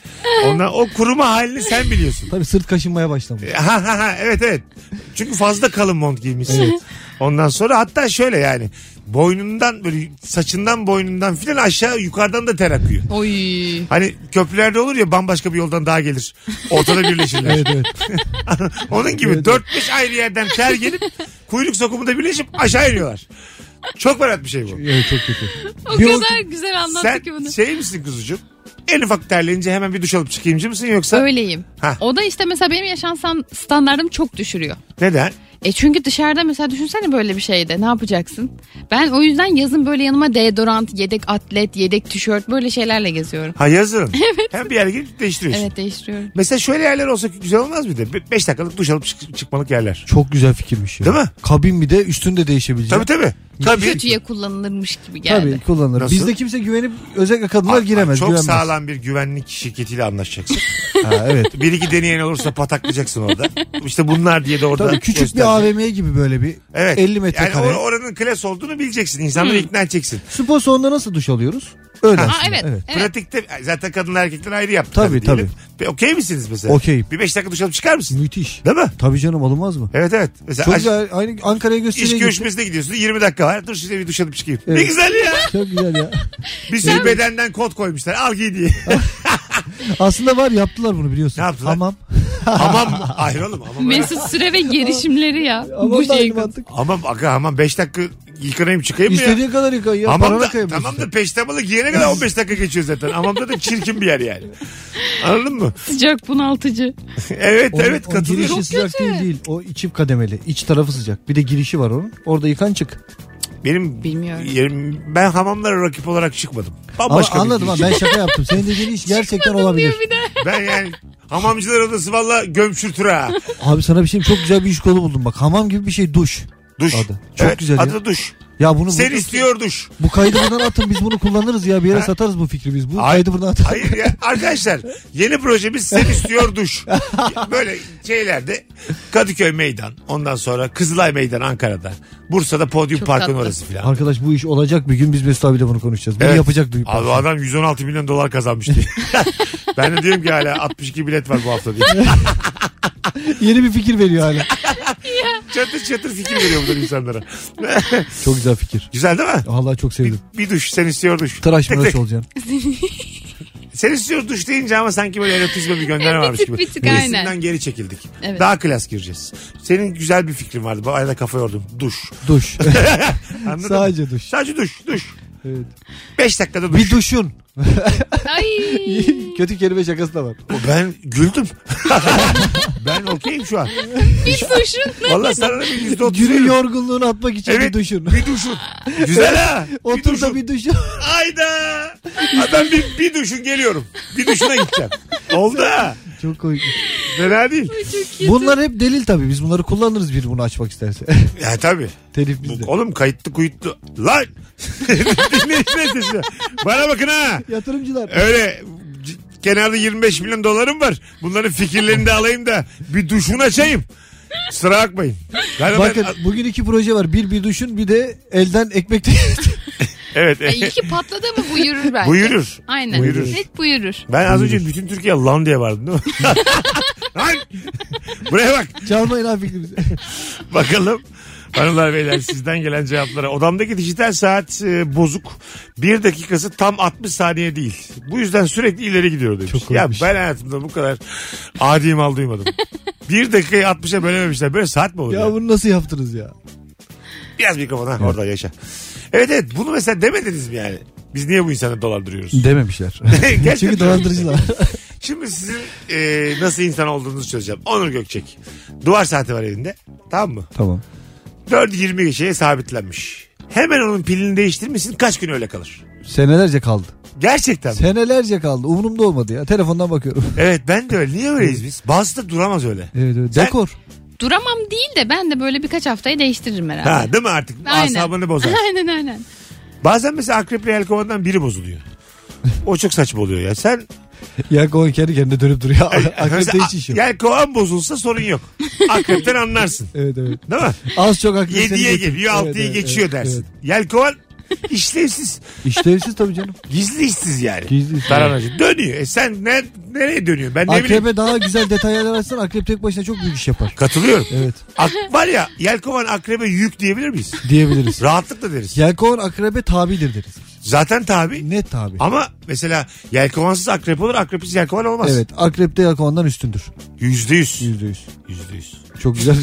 S3: Ondan, o kuruma halini sen biliyorsun. E,
S5: Tabii sırt kaşınmaya başlamış.
S3: Ha ha ha evet evet. Çünkü fazla kalın mont giymişsin. Ondan sonra hatta şöyle yani boynundan böyle saçından boynundan filan aşağı yukarıdan da ter akıyor.
S4: Oy.
S3: Hani köprülerde olur ya bambaşka bir yoldan daha gelir. Ortada birleşirler.
S5: Evet evet.
S3: Onun gibi 4-5 ayrı yerden ter gelip kuyruk sokumunda birleşip aşağı iniyorlar. Çok berbat bir şey bu.
S5: Evet çok kötü.
S4: O
S5: Bir
S4: kadar güzel anlattı
S3: Sen
S4: ki bunu.
S3: şey misin kuzucuğum? En ufak terleyince hemen bir duş alıp çıkayımcı mısın yoksa?
S4: Öyleyim.
S3: Ha.
S4: O da işte mesela benim yaşansam standartım çok düşürüyor.
S3: Neden?
S4: E çünkü dışarıda mesela düşünsene böyle bir şeyde ne yapacaksın? Ben o yüzden yazın böyle yanıma deodorant, yedek atlet, yedek tişört böyle şeylerle geziyorum.
S3: Ha yazın. Hem bir yere gidip değiştiriyorsun.
S4: Evet değiştiriyorum.
S3: Mesela şöyle yerler olsa güzel olmaz mıydı? 5 dakikalık duş alıp çık- çıkmalık yerler.
S5: Çok güzel fikirmiş ya.
S3: Değil mi?
S5: Kabin bir de üstünü de değişebilecek.
S3: Tabii tabii. Tabii.
S4: Kötüye kullanılırmış gibi geldi.
S5: Tabii kullanılır.
S3: Nasıl?
S5: Bizde kimse güvenip özellikle kadınlar
S3: Ay,
S5: giremez.
S3: Çok
S5: güvenmez.
S3: sağlam bir güvenlik şirketiyle anlaşacaksın.
S5: Ha, evet.
S3: bir iki deneyen olursa pataklayacaksın orada. İşte bunlar diye de orada
S5: Tabii küçük bir
S3: göstermeyeceksin.
S5: AVM gibi böyle bir
S3: Evet.
S5: 50 metrekare.
S3: Yani or- oranın klas olduğunu bileceksin. İnsanları ikna edeceksin.
S5: Spor salonunda nasıl duş alıyoruz? Öyle
S4: Aa,
S5: aslında.
S4: evet. evet.
S3: Pratikte zaten kadınlar erkekler ayrı yaptı.
S5: Tabii,
S3: diyelim. Pe- Okey misiniz mesela?
S5: Okey.
S3: Bir beş dakika duş alıp çıkar mısın?
S5: Müthiş.
S3: Değil mi?
S5: Tabii canım alınmaz mı?
S3: Evet evet. Mesela
S5: Çok
S3: aş-
S5: güzel. Aynı Ankara'ya gösteriye
S3: iş
S5: gittim.
S3: görüşmesine gidiyorsun. 20 dakika var. Dur şuraya bir duş alıp çıkayım. Ne
S5: Evet.
S3: güzel ya.
S5: Çok güzel ya.
S3: Bir sürü bedenden kod koymuşlar. Al giy diye.
S5: Aslında var yaptılar bunu biliyorsun.
S3: Ne yaptılar?
S5: Hamam.
S3: hamam mı? Hayır oğlum hamam.
S4: Mesut Süre ve girişimleri ya.
S5: Hamam
S4: bu
S5: da
S4: şey.
S5: aynı mantık.
S3: Hamam aga hamam 5 dakika yıkanayım çıkayım mı ya?
S5: İstediğin kadar yıka ya.
S3: Hamam
S5: parana
S3: da,
S5: kayabilirsin.
S3: tamam da peştemalı giyene kadar 15 dakika geçiyor zaten. Hamamda da çirkin bir yer yani. Anladın mı?
S4: Sıcak bunaltıcı.
S3: Evet
S5: Onun-
S3: evet
S5: onun
S3: katılıyorum.
S5: girişi sıcak değil değil. O içi kademeli. İç tarafı sıcak. Bir de girişi var onun. Orada yıkan çık.
S3: Benim
S4: Bilmiyorum.
S3: yerim, ben hamamlara rakip olarak çıkmadım.
S5: Ama
S3: Bambaşka
S5: anladım
S3: bir
S5: ha
S3: giriş.
S5: ben şaka yaptım. Senin dediğin iş gerçekten olabilir.
S4: Diyor bir de.
S3: Ben yani hamamcılar odası valla gömçürtür ha.
S5: Abi sana bir şey çok güzel bir iş kolu buldum bak. Hamam gibi bir şey duş.
S3: Duş.
S5: Adı. Çok
S3: Evet,
S5: güzel ya.
S3: Adı duş.
S5: Ya bunu
S3: Sen
S5: bu,
S3: istiyor duş.
S5: bu kaydı buradan atın biz bunu kullanırız ya bir yere satarız bu fikri biz. Bu
S3: Ay-
S5: kaydı buradan atalım.
S3: Hayır ya arkadaşlar yeni projemiz sen istiyor duş. Böyle şeylerde Kadıköy Meydan ondan sonra Kızılay Meydan Ankara'da. Bursa'da Podyum
S4: Çok
S3: Park'ın
S4: tatlı.
S3: orası filan.
S5: Arkadaş bu iş olacak bir gün biz Mesut abiyle bunu konuşacağız. Bunu
S3: Evet.
S5: yapacak duyup.
S3: Abi adam 116 milyon dolar kazanmış diye. ben de diyorum ki hala 62 bilet var bu hafta diye.
S5: Yeni bir fikir veriyor hala.
S3: çatır çatır fikir veriyor bunlar insanlara.
S5: Çok güzel fikir.
S3: Güzel değil mi?
S5: Vallahi çok
S3: Bir,
S5: sevdim.
S3: bir duş sen istiyor duş.
S5: Tıraş
S3: Tek
S5: mıraş
S3: tek.
S5: olacaksın.
S3: Sen istiyor duş deyince ama sanki böyle erotizme bir gönderme varmış
S4: tık,
S3: gibi.
S4: bir tık,
S3: Resimden
S4: aynen.
S3: geri çekildik.
S4: Evet.
S3: Daha klas gireceğiz. Senin güzel bir fikrin vardı. Bu arada kafa yordum. Duş.
S5: Duş.
S3: Anladın mı?
S5: Sadece duş.
S3: Sadece duş. Duş.
S5: Evet.
S3: 5 dakikada duş.
S5: Bir duşun.
S4: Ay.
S5: Kötü kelime şakası da var.
S3: Ben güldüm. ben okeyim şu an.
S4: Bir duşun.
S3: Valla sana da bir yüzde otuz
S5: Günün
S3: veririm.
S5: yorgunluğunu atmak için
S3: Evet.
S5: bir duşun.
S3: Bir duşun. Güzel ha.
S5: Otur
S3: duşun.
S5: da bir duşun.
S3: Ayda. Ha, ben bir, bir duşun geliyorum. Bir duşuna gideceğim. Oldu ha.
S5: Çok komik.
S3: Fena değil.
S5: Bunlar hep delil tabii. Biz bunları kullanırız bir bunu açmak isterse.
S3: Ya tabii.
S5: Telif
S3: Bu-
S5: bizde.
S3: oğlum kayıtlı kuyutlu. Lan. Dinleyiciler sesine. Bana bakın ha.
S5: Yatırımcılar.
S3: Öyle c- kenarda 25 milyon dolarım var. Bunların fikirlerini de alayım da bir duşunu açayım. Sıra bakmayın. Yani ben-
S5: Bakın bugün iki proje var. Bir bir duşun bir de elden ekmek.
S3: evet.
S4: Ay, iyi ki E, patladı mı buyurur bence.
S3: Buyurur.
S4: Aynen.
S3: Buyurur.
S4: Net buyurur.
S3: Ben az önce bütün Türkiye lan diye vardım değil mi? lan. Buraya bak.
S5: Çalmayın abi fikrimizi.
S3: Bakalım. Hanımlar beyler sizden gelen cevaplara. Odamdaki dijital saat e, bozuk. Bir dakikası tam 60 saniye değil. Bu yüzden sürekli ileri gidiyor demiş.
S5: Çok
S3: ya
S5: komikmiş.
S3: ben hayatımda bu kadar adi mal duymadım. bir dakikayı 60'a bölememişler. Böyle saat mi olur? ya?
S5: ya bunu nasıl yaptınız ya?
S3: Biraz mikrofona orada yaşa. Evet evet bunu mesela demediniz mi yani? Biz niye bu insanı dolandırıyoruz?
S5: Dememişler.
S3: Gerçekten.
S5: Çünkü dolandırıcılar.
S3: Şimdi sizin e, nasıl insan olduğunuzu çözeceğim. Onur Gökçek. Duvar saati var evinde. Tamam mı?
S5: tamam.
S3: 4.20 geçeye sabitlenmiş. Hemen onun pilini değiştirmişsin kaç gün öyle kalır.
S5: Senelerce kaldı.
S3: Gerçekten mi?
S5: Senelerce kaldı. Umurumda olmadı ya. Telefondan bakıyorum.
S3: Evet ben de öyle. Niye öyleyiz biz? Bazısı da duramaz öyle.
S5: Evet evet.
S3: Sen-
S5: Dekor.
S4: Duramam değil de ben de böyle birkaç haftayı değiştiririm herhalde.
S3: Ha değil mi artık?
S4: Aynen.
S3: Asabını bozar.
S4: Aynen aynen.
S3: Bazen mesela akrep yelkovandan biri bozuluyor. O çok saçma oluyor ya. Sen
S5: Ya koy kendi kendine dönüp duruyor. Akrepte
S3: mesela
S5: hiç iş yok.
S3: yelkovan bozulsa sorun yok. Akrepten anlarsın.
S5: Evet evet.
S3: Değil mi?
S5: Az çok akrep seni
S3: 7'ye
S5: götürür.
S3: geliyor,
S5: Evet,
S3: 6'ya
S5: evet,
S3: geçiyor
S5: evet,
S3: dersin. Yelkovan işlevsiz.
S5: evet. İşlevsiz tabii canım.
S3: Gizli işsiz yani.
S5: Gizli işsiz.
S3: Taranacı. Dönüyor. E sen ne, nereye dönüyor? Ben ne bileyim.
S5: Akrebe daha güzel detaylar versen akrep tek başına çok büyük iş yapar.
S3: Katılıyorum.
S5: Evet
S3: Ak- var ya yelkovan akrebe yük diyebilir miyiz?
S5: diyebiliriz.
S3: Rahatlıkla deriz.
S5: Yelkovan akrebe tabidir deriz.
S3: Zaten tabi.
S5: Net tabi.
S3: Ama mesela yelkovansız akrep olur, akrepsiz yelkovan olmaz.
S5: Evet akrep de yelkovandan üstündür.
S3: Yüzde yüz.
S5: Yüzde yüz.
S3: Yüzde yüz.
S5: Çok güzel.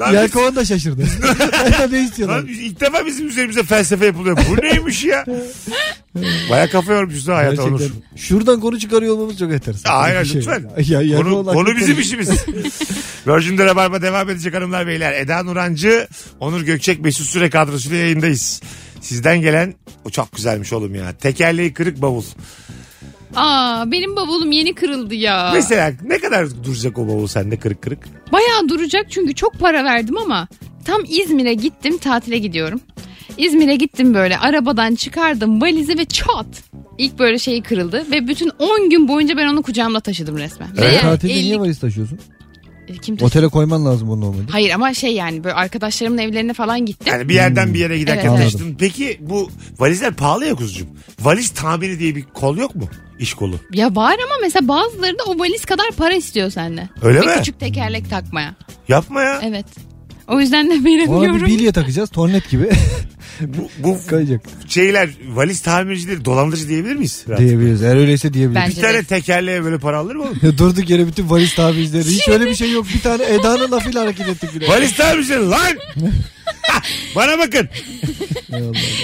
S3: Lan biz-
S5: Yelkovan da şaşırdı. Ben de ne
S3: lan
S5: istiyorlar?
S3: biz- ilk defa bizim üzerimize felsefe yapılıyor. Bu neymiş ya? Baya kafa yormuşuz ha hayata olur.
S5: Gerçekten. Şuradan konu çıkarıyor olmamız çok enteresan.
S3: Hayır
S5: Bir şey.
S3: lütfen.
S5: Ya, ya,
S3: konu,
S5: yelkovan
S3: konu
S5: akrep
S3: bizim
S5: de-
S3: işimiz. Virgin'de Rabarba devam edecek hanımlar beyler. Eda Nurancı, Onur Gökçek, Mesut Süre kadrosuyla yayındayız. Sizden gelen o çok güzelmiş oğlum ya. Tekerleği kırık bavul.
S4: Aa benim bavulum yeni kırıldı ya.
S3: Mesela ne kadar duracak o bavul sende kırık kırık?
S4: Bayağı duracak çünkü çok para verdim ama tam İzmir'e gittim tatile gidiyorum. İzmir'e gittim böyle arabadan çıkardım valizi ve çat ilk böyle şey şeyi kırıldı ve bütün 10 gün boyunca ben onu kucağımda taşıdım resmen. Ve
S5: Evet.
S4: yani
S5: Tatilde niye
S4: 50
S5: valiz taşıyorsun?
S4: E, Kim taşıyor?
S5: Otele koyman lazım bunu normalde.
S4: Hayır ama şey yani böyle arkadaşlarımın evlerine falan gittim.
S3: Yani bir yerden bir yere giderken
S4: Evet, evet.
S3: taşıdın. Peki bu valizler pahalı ya kuzucuğum. Valiz tamiri diye bir kol yok mu? İş kolu.
S4: Ya var ama mesela bazıları da o valiz kadar para istiyor senden.
S3: Öyle
S4: Bir
S3: mi?
S4: küçük tekerlek takmaya.
S3: Yapma ya.
S4: Evet. O yüzden de
S5: Ona bir
S4: veremiyorum.
S5: bilye takacağız tornet gibi
S3: Bu, bu
S5: kayacak.
S3: şeyler valiz tamircileri dolandırıcı diyebilir miyiz? Rahat.
S5: diyebiliriz. Eğer öyleyse diyebiliriz.
S4: Bence-
S3: Bir tane tekerleğe böyle para alır mı oğlum?
S5: Ya Durduk yere bütün valiz tabircileri. Hiç öyle bir şey yok. Bir tane Eda'nın lafıyla hareket ettik bile.
S3: valiz tamircileri lan! Bana bakın.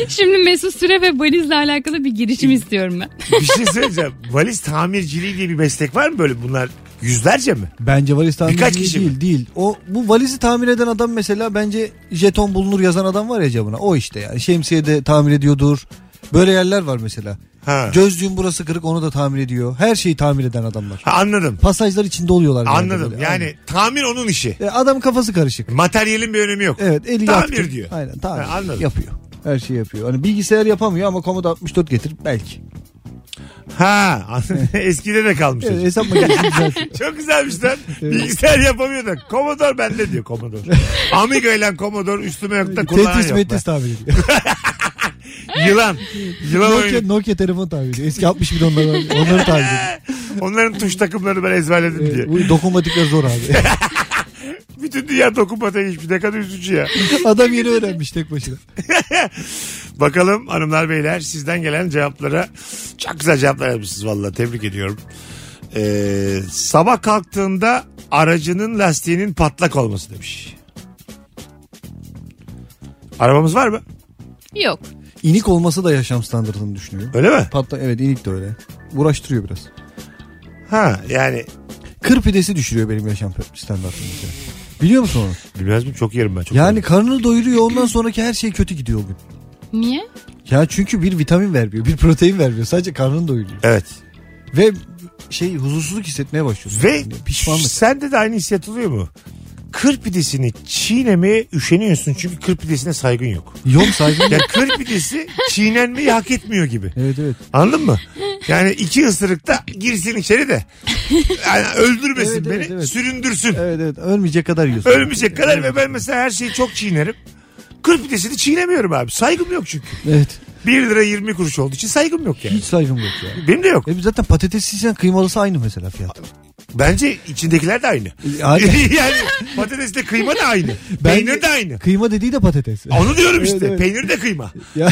S4: Şimdi Mesut Süre ve valizle alakalı bir girişim istiyorum ben.
S3: Bir şey söyleyeceğim. Valiz tamirciliği diye bir meslek var mı böyle bunlar? Yüzlerce mi?
S5: Bence valiz
S3: Birkaç
S5: tamirciliği
S3: kişi
S5: değil değil. O bu valizi tamir eden adam mesela bence jeton bulunur yazan adam var ya cebine. O işte yani şemsiye de tamir ediyordur. Böyle yerler var mesela.
S3: Ha.
S5: Gözlüğün burası kırık onu da tamir ediyor. Her şeyi tamir eden adamlar.
S3: Ha, anladım.
S5: Pasajlar içinde oluyorlar. genelde
S3: Anladım.
S5: böyle.
S3: Yani tamir onun işi.
S5: Aynen. E, adam kafası karışık.
S3: Materyalin bir önemi yok.
S5: Evet eli
S3: Tamir
S5: yatkın.
S3: diyor.
S5: Aynen tamir.
S3: Ha, anladım.
S5: Yapıyor. Her şeyi yapıyor. Hani bilgisayar yapamıyor ama komoda 64 getir belki.
S3: Ha. anladım. Eskide de kalmış.
S5: Evet,
S3: hocam.
S5: E, hesap makinesi güzel.
S3: Çok güzelmiş lan. Bilgisayar yapamıyor da. Commodore bende diyor Commodore. Amiga ile Commodore üstüme yok da kullanan
S5: Tetris
S3: yok. be.
S5: metis tamir ediyor.
S3: Yılan. Yılan
S5: Nokia,
S3: oyunu.
S5: Nokia telefon tamir ediyor. Eski 60 bin onları, onları tamir ediyor.
S3: Onların tuş takımlarını ben ezberledim
S5: Evet,
S3: diye.
S5: bu dokunmatikler zor abi.
S3: Bütün dünya dokunmata geçmiş. Ne kadar üzücü şey ya.
S5: Adam yeni öğrenmiş tek başına.
S3: Bakalım hanımlar beyler sizden gelen cevaplara çok güzel cevaplar yapmışsınız valla tebrik ediyorum. Ee, sabah kalktığında aracının lastiğinin patlak olması demiş. Arabamız var mı?
S4: Yok.
S5: İnik olması da yaşam standartını düşünüyor.
S3: Öyle mi?
S5: Patla evet inik de öyle. Uğraştırıyor biraz.
S3: Ha yani
S5: Kır pidesi düşürüyor benim yaşam standartımı. mesela. Biliyor musun onu?
S3: bilmez miyim çok yerim ben çok.
S5: Yani
S3: yerim.
S5: karnını doyuruyor ondan sonraki her şey kötü gidiyor o gün.
S4: Niye?
S5: Ya çünkü bir vitamin vermiyor, bir protein vermiyor. Sadece karnını doyuruyor.
S3: Evet.
S5: Ve şey huzursuzluk hissetmeye başlıyorsun.
S3: Ve
S5: Yani pişmanlık.
S3: sende de aynı hissiyat oluyor mu? Kır pidesini çiğnemeye üşeniyorsun çünkü kır pidesine saygın yok.
S5: Yok saygın.
S3: Ya kır pidesi çiğnenmeyi hak etmiyor gibi.
S5: evet evet.
S3: Anladın mı? Yani iki ısırıkta girsin içeri de. Yani öldürmesin
S5: Evet,
S3: beni,
S5: evet, evet.
S3: süründürsün.
S5: Evet evet. Ölmeyecek kadar yiyorsun.
S3: Ölmeyecek kadar ve ben mesela her şeyi çok çiğnerim. Kır pidesini çiğnemiyorum abi. Saygım yok çünkü.
S5: Evet.
S3: 1 lira 20 kuruş olduğu için saygım yok yani.
S5: Hiç saygın yok ya.
S3: Benim de yok.
S5: E zaten patates yiyeceksin kıymalısı aynı mesela fiyat.
S3: Bence içindekiler de aynı.
S5: Yani
S3: yani patatesle kıyma da aynı. Peynir de aynı.
S5: Kıyma dediği de patates.
S3: Onu diyorum işte.
S5: Evet, evet.
S3: Peynir de kıyma.
S5: Ya-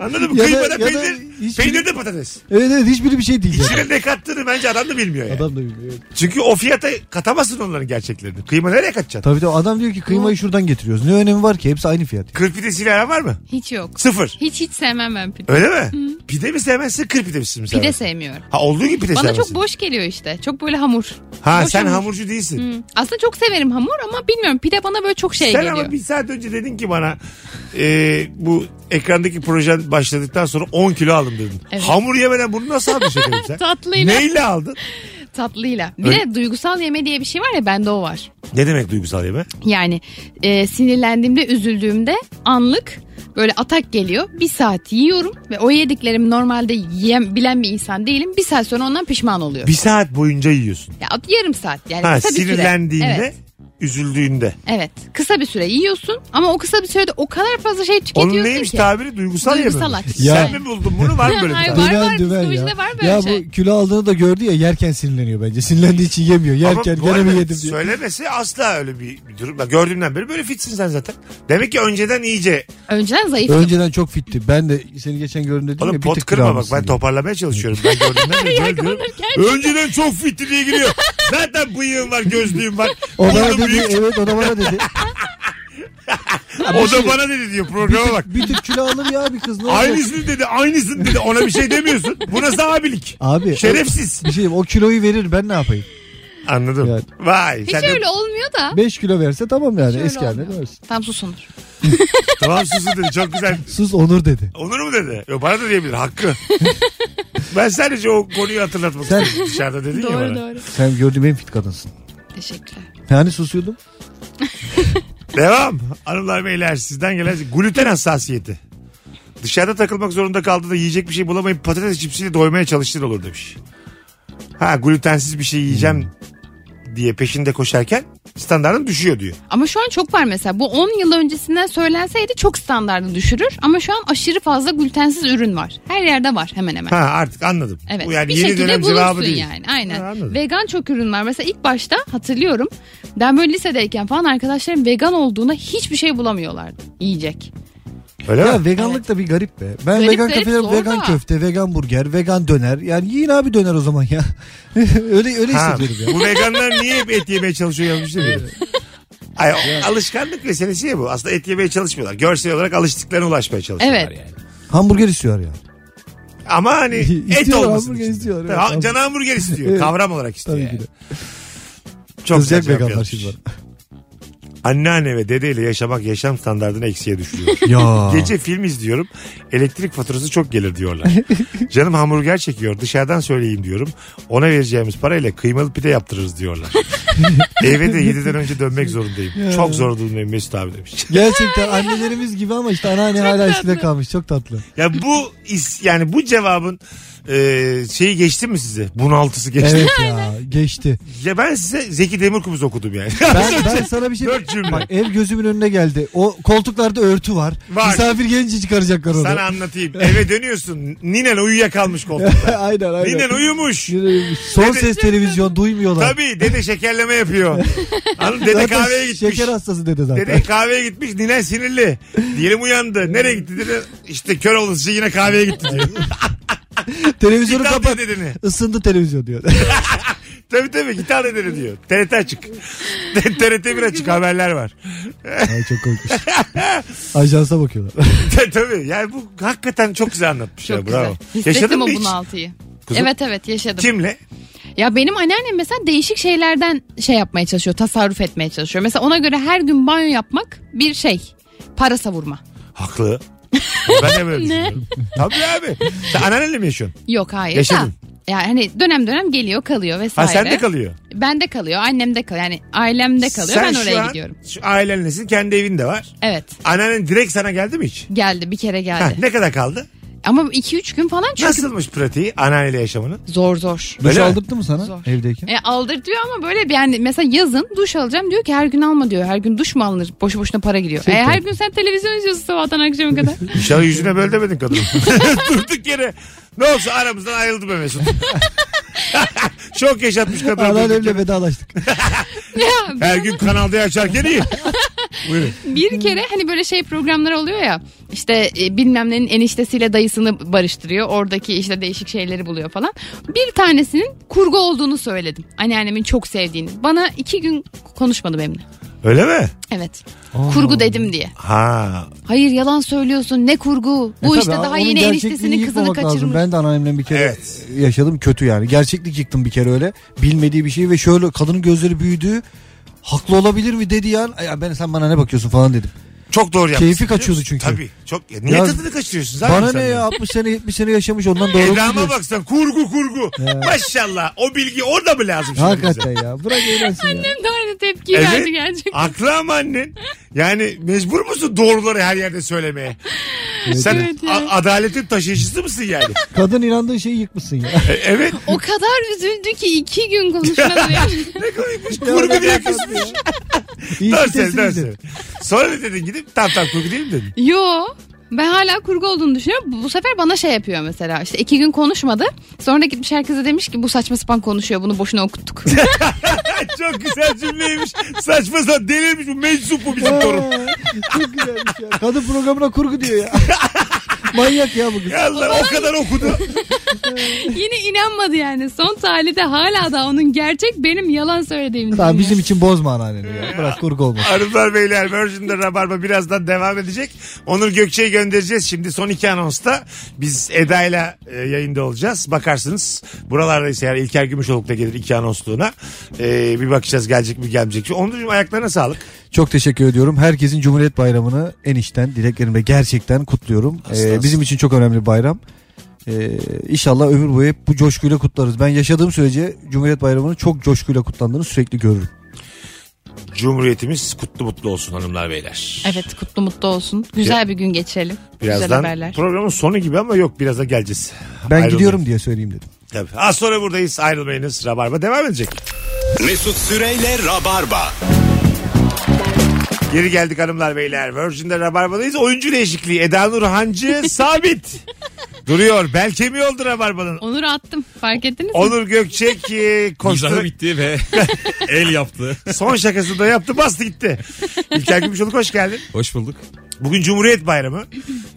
S3: Anladın mı?
S5: Ya da-
S3: kıyma da,
S5: ya da
S3: peynir.
S5: hiçbir-
S3: Peynir de patates.
S5: Evet evet hiçbiri bir şey değil. yani.
S3: İçine ne kattığını bence adam da bilmiyor yani.
S5: Adam da bilmiyor. evet.
S3: Çünkü o fiyata katamazsın onların gerçeklerini. Kıyma nereye katacaksın?
S5: Tabii tabii adam diyor ki kıymayı şuradan getiriyoruz. Ne önemi var ki hepsi aynı fiyat.
S3: Kır pidesiyle aran var mı?
S4: Hiç yok.
S3: Sıfır.
S4: Hiç hiç sevmem ben pide.
S3: Öyle mi? Pide mi sevmezsin kır pidesi mi
S4: Pide
S3: sevmezsin?
S4: sevmiyorum.
S3: Ha olduğu gibi pide
S4: Bana
S3: sevmezsin.
S4: çok boş geliyor işte. Çok böyle hamur.
S3: Ha
S4: boş
S3: sen
S4: hamur.
S3: hamurcu değilsin.
S4: Hı. Aslında çok severim hamur ama bilmiyorum pide bana böyle çok şey
S3: sen
S4: geliyor.
S3: ama bir saat önce dedin ki bana e, bu ekrandaki projen başladıktan sonra 10 kilo aldım dedin.
S4: Evet.
S3: Hamur yemeden bunu nasıl aldın şekerim sen?
S4: Tatlıyla.
S3: Neyle aldın?
S4: Tatlıyla. Bir
S3: Öyle-
S4: de duygusal yeme diye bir şey var ya bende o var.
S3: Ne demek duygusal yeme?
S4: Yani e, sinirlendiğimde, üzüldüğümde anlık böyle atak geliyor. Bir saat yiyorum ve o yediklerimi normalde yiyem, bilen bir insan değilim. Bir saat sonra ondan pişman oluyorum.
S3: Bir saat boyunca yiyorsun.
S4: Ya, yarım saat yani
S3: Ha
S4: kısa bir süre.
S3: sinirlendiğinde,
S4: Evet,
S3: üzüldüğünde.
S4: evet. Kısa bir süre yiyorsun ama o kısa bir sürede o kadar fazla şey tüketiyorsun
S3: Onun neymiş
S4: ki.
S3: tabiri? Duygusal,
S4: Duygusal
S3: yeme. mi?
S4: açlık.
S3: Sen
S5: Ya.
S3: mi buldun bunu? Var mı böyle bir
S4: Hayır,
S3: tabir?
S4: var. psikolojide var böyle
S5: ya
S4: şey.
S5: bu kilo aldığını da gördü ya yerken sinirleniyor bence. Sinirlendiği için yemiyor.
S3: Ama
S5: Yerken
S3: bu
S5: gene mi
S3: arada
S5: yedim diyor.
S3: Söylemesi asla öyle bir, bir durum. Bak Gördüğümden beri böyle fitsin sen zaten. Demek ki önceden iyice.
S4: Önceden zayıftım.
S5: Önceden çok fitti. Ben de seni geçen gördüğümde dedim
S3: Oğlum
S5: ya bir
S3: pot
S5: tık
S3: kırma bak
S5: kralmışsın
S3: ben
S5: diye.
S3: toparlamaya çalışıyorum. Ben gördüğümden beri böyle diyorum. Önceden çok fitti diye giriyor. Zaten bıyığım var gözlüğüm var.
S5: O bana
S3: Burnum
S5: dedi e,
S3: büyük.
S5: evet o da bana dedi.
S3: O da bana dedi diyor programa bak.
S5: şey- Bir tık kilo alır ya bir kız ne olacak?
S3: Aynısını dedi aynısını dedi ona bir şey demiyorsun. Bu nasıl abilik?
S5: Abi o-
S3: Şerefsiz.
S5: Bir şey diyeyim, o kiloyu verir ben ne yapayım?
S3: Anladım.
S5: Yani.
S3: Vay.
S4: Hiç
S3: sen de-
S4: öyle olmuyor da.
S5: 5 kilo verse tamam yani
S4: Şöyle
S5: eski haline
S4: olmuyor.
S5: dönersin.
S4: Tam susunur.
S3: Tamam susun dedi çok güzel.
S5: Sus Onur dedi.
S3: Onur mu dedi? Yo, bana da diyebilir hakkı. ben sadece o konuyu hatırlatmak
S5: Sen-
S3: istedim. Dışarıda dedin ya bana.
S4: Doğru doğru.
S5: Sen gördüğüm en fit kadınsın.
S4: Teşekkürler.
S5: Yani susuyordum.
S3: Devam. Hanımlar beyler sizden gelen gluten hassasiyeti. Dışarıda takılmak zorunda kaldı da yiyecek bir şey bulamayıp patates cipsiyle doymaya çalıştığın olur demiş. Ha glutensiz bir şey yiyeceğim diye peşinde koşarken standartın düşüyor diyor.
S4: Ama şu an çok var mesela. Bu 10 yıl öncesinden söylenseydi çok standardı düşürür. Ama şu an aşırı fazla glutensiz ürün var. Her yerde var hemen hemen.
S3: Ha artık anladım.
S4: Evet.
S3: Bu yani
S4: bir
S3: yeni dönem
S4: şekilde
S3: cevabı
S4: bulursun
S3: değil.
S4: yani. Aynen.
S3: Ha, anladım.
S4: vegan çok ürün var. Mesela ilk başta hatırlıyorum. Ben böyle lisedeyken falan arkadaşlarım vegan olduğuna hiçbir şey bulamıyorlardı. Yiyecek.
S3: Öyle mi?
S5: Ya veganlık da bir garip be. Ben
S4: Garip,
S5: vegan
S4: garip,
S5: kafeler,
S4: zor
S5: vegan
S4: da.
S5: köfte, vegan burger, vegan döner. Yani yiyin abi döner o zaman ya. öyle öyle
S3: Ha,
S5: hissediyorum ya.
S3: bu veganlar niye hep et yemeye çalışıyor yanlış değil mi? Ay, o alışkanlık meselesi ya bu. Aslında et yemeye çalışmıyorlar. Görsel olarak alıştıklarına ulaşmaya çalışıyorlar
S4: Evet.
S3: yani.
S5: Hamburger istiyor ya.
S3: Ama hani et
S5: İstiyor,
S3: olmasın.
S5: hamburger
S3: için.
S5: istiyor, evet,
S3: Tabii, ha- Can hamburger istiyor.
S5: Evet.
S3: Kavram olarak istiyor.
S5: Tabii
S3: yani.
S5: ki de.
S3: Çok güzel
S5: Kızacak
S3: cevap
S5: veganlar
S3: yazmış.
S5: şimdi bana.
S3: Anneanne ve dedeyle yaşamak yaşam standartını eksiye düşürüyor.
S5: Ya.
S3: Gece film izliyorum. Elektrik faturası çok gelir diyorlar. Canım hamburger çekiyor. Dışarıdan söyleyeyim diyorum. Ona vereceğimiz parayla kıymalı pide yaptırırız diyorlar. Eve de 7'den önce dönmek zorundayım. Çok zor durumdayım Mesut abi demiş.
S5: Gerçekten annelerimiz gibi ama işte anneanne hala eskide kalmış. Çok tatlı.
S3: Ya bu is, yani bu cevabın e, şeyi geçti mi size? Bunaltısı geçti.
S5: Evet ya geçti.
S3: Ya ben size Zeki Demirkubuz okudum yani.
S5: Ben, ben sana bir şey
S3: Dört cümle.
S5: Bak ev gözümün önüne geldi. O koltuklarda örtü var.
S3: Var.
S5: Misafir gelince çıkaracaklar onu.
S3: Sana anlatayım. Eve dönüyorsun. Ninen uyuyakalmış koltukta.
S5: aynen aynen.
S3: Ninen uyumuş.
S5: Yine- Son
S3: Dede-
S5: ses televizyon duymuyorlar.
S3: Tabii dede şekerleme yapıyor. Hanım dede
S5: Zaten
S3: kahveye gitmiş.
S5: Şeker hastası dede zaten.
S3: Dede kahveye gitmiş ninen sinirli. Diyelim uyandı. Nereye gitti dedi. İşte kör olası yine kahveye gitti diyor.
S5: Televizyonu
S3: Git al
S5: kapat.
S3: dedeni.
S5: Isındı televizyon diyor.
S3: Tabii tabii git al dedeni diyor. TRT açık. TRT bir açık haberler var.
S5: Ay çok korkmuş. Ajansa bakıyorlar.
S3: tabii yani bu hakikaten çok güzel anlatmış.
S4: Çok
S3: ya,
S4: güzel.
S3: bravo.
S4: Hissettim o
S3: mı hiç?
S4: bunaltıyı.
S3: Kızım-
S4: Evet evet yaşadım.
S3: Kimle?
S4: Ya benim anneannem mesela değişik şeylerden şey yapmaya çalışıyor. Tasarruf etmeye çalışıyor. Mesela ona göre her gün banyo yapmak bir şey. Para savurma.
S3: Haklı. Ben de böyle düşünüyorum. Tabii abi. Sen anneannenle mi yaşıyorsun?
S4: Yok hayır
S3: Yaşadın.
S4: da. Ya hani dönem dönem geliyor kalıyor
S3: Ha
S4: vesaire.
S3: sende kalıyor.
S4: Bende kalıyor, annemde kalıyor. Yani ailemde kalıyor.
S3: Sen
S4: ben
S3: şu
S4: oraya
S3: an
S4: gidiyorum.
S3: Şu ailenlesin kendi evin de var.
S4: Evet.
S3: Anneannen direkt sana geldi mi hiç?
S4: Geldi bir kere
S3: Ha,
S4: geldi.
S3: ne kadar kaldı?
S4: Ama 2-3 gün falan çünkü
S3: Nasılmış pratiği anneanneyle yaşamanın?
S4: zor zor.
S5: Duş
S3: mi?
S5: aldırttı mı sana
S4: Zor.
S5: evdeyken?
S4: E, aldırtıyor ama böyle bir- yani mesela yazın duş alacağım diyor ki her gün alma diyor. Her gün duş mu alınır? Boşu boşuna para giriyor. E, her gün sen televizyon izliyorsun sabahtan akşama kadar.
S3: İnşallah yüzüne böyle demedin kadın. Durduk yere. Ne olsa aramızdan ayrıldı be Mesut. Çok yaşatmış kadın. Durduk
S5: Anneannemle
S3: yere.
S5: vedalaştık.
S4: ya,
S3: Her gün kanalda açarken iyi. Buyurun.
S4: bir kere hani böyle şey programlar oluyor ya işte e, bilmem nenin eniştesiyle dayısını barıştırıyor oradaki işte değişik şeyleri buluyor falan. Bir tanesinin kurgu olduğunu söyledim anneannemin çok sevdiğini. Bana iki gün konuşmadı benimle.
S3: Öyle mi?
S4: Evet kurgu dedim diye.
S3: Ha.
S4: Hayır yalan söylüyorsun ne kurgu
S5: E
S4: bu
S5: tabii,
S4: işte daha
S5: onun
S4: yeni
S5: gerçekliğini
S4: eniştesinin kızını
S5: yıkmamak lazım.
S4: kaçırmış.
S5: Ben de anneannemle bir kere
S3: Evet.
S5: yaşadım kötü yani. Gerçeklik yıktım bir kere öyle. Bilmediği bir şey ve şöyle kadının gözleri büyüdü. Haklı olabilir mi dedi ya. Ya ben sen bana ne bakıyorsun falan dedim.
S3: Çok doğru yapmışsın.
S5: Keyfi
S3: biliyor musun?
S5: kaçıyordu çünkü.
S3: Tabii. Çok. Ya Niye
S5: Ya-
S3: tadını kaçırıyorsun? zaten
S5: Bana
S3: sen
S5: ne
S3: de?
S5: ya 60 sene 70 sene yaşamış ondan doğru
S3: Edama
S5: biliyor.
S3: baksan kurgu kurgu. Maşallah o bilgi orada mı lazım? şimdi bize?
S5: Hakikaten ya. Bırak eğlensin ya.
S4: Annem de aynı tepkiyi verdi gerçekten.
S3: Haklı ama annen. Yani mecbur musun doğruları her yerde söylemeye? Sen
S4: Evet ya.
S3: a- adaletin taşıyıcısı mısın yani?
S5: Kadın inandığı şeyi yıkmışsın ya.
S3: E- evet.
S4: O kadar üzüldü ki iki gün konuşmadı yani.
S3: Ne komikmiş. Kurgu diye kızmış.
S5: İyi ki
S3: Dönsene
S5: teslim
S3: dönsene.
S5: edin.
S3: Sonra ne dedin gidip tam tam kurgu değil mi dedin?
S4: Yo. Ben hala kurgu olduğunu düşünüyorum. Bu, bu sefer bana şey yapıyor mesela. İşte iki gün konuşmadı. Sonra gitmiş herkese demiş ki bu saçma sapan konuşuyor. Bunu boşuna okuttuk.
S3: Ay, Çok güzel cümleymiş. Saçma sapan delirmiş bu meczup bu bizim torun.
S5: Aa, Çok güzelmiş ya. Kadın programına kurgu diyor ya. Manyak ya bugün.
S3: Ya Allah o kadar okudu.
S4: Yine inanmadı yani. Son talide hala da onun gerçek benim yalan söylediğimi
S5: Tamam
S4: düşünüyor.
S5: bizim için bozma anneanneni ya. Bırak kurgu olmasın.
S3: Hanımlar beyler Virgin'de Rabarba birazdan devam edecek. Onur Gökçe'yi göndereceğiz. Şimdi son iki anonsta biz Eda'yla e, yayında olacağız. Bakarsınız buralarda ise eğer İlker Gümüşoluk da gelir iki anonsluğuna. E, bir bakacağız gelecek mi gelmeyecek mi. Onurcuğum ayaklarına sağlık.
S5: Çok teşekkür ediyorum. Herkesin Cumhuriyet Bayramı'nı en içten dileklerimle gerçekten kutluyorum.
S3: Aslan.
S5: Ee, bizim için çok önemli bir bayram. Ee, inşallah ömür boyu hep bu coşkuyla kutlarız. Ben yaşadığım sürece Cumhuriyet Bayramı'nın çok coşkuyla kutlandığını sürekli görürüm.
S3: Cumhuriyetimiz kutlu mutlu olsun hanımlar beyler.
S4: Evet kutlu mutlu olsun. Güzel bir gün geçirelim. Güzel
S3: Birazdan
S4: haberler.
S3: programın sonu gibi ama yok biraz da geleceğiz.
S5: Ben
S3: Ayrılmayın.
S5: gidiyorum diye söyleyeyim dedim.
S3: Tabii. Az sonra buradayız ayrılmayınız. Rabarba devam edecek.
S2: Mesut Süreyle Rabarba.
S3: Geri geldik hanımlar beyler. Virgin'de Rabarba'dayız. Oyuncu değişikliği. Eda Nur Hancı sabit. Duruyor. Bel kemiği oldu Rabarba'nın.
S4: Onur'u attım. Fark ettiniz mi?
S3: Onur Gökçek e, koştu.
S6: Mizahı bitti ve el yaptı.
S3: Son şakasını da yaptı bastı gitti. İlker Gümüşoluk hoş geldin.
S6: Hoş bulduk.
S3: Bugün Cumhuriyet Bayramı.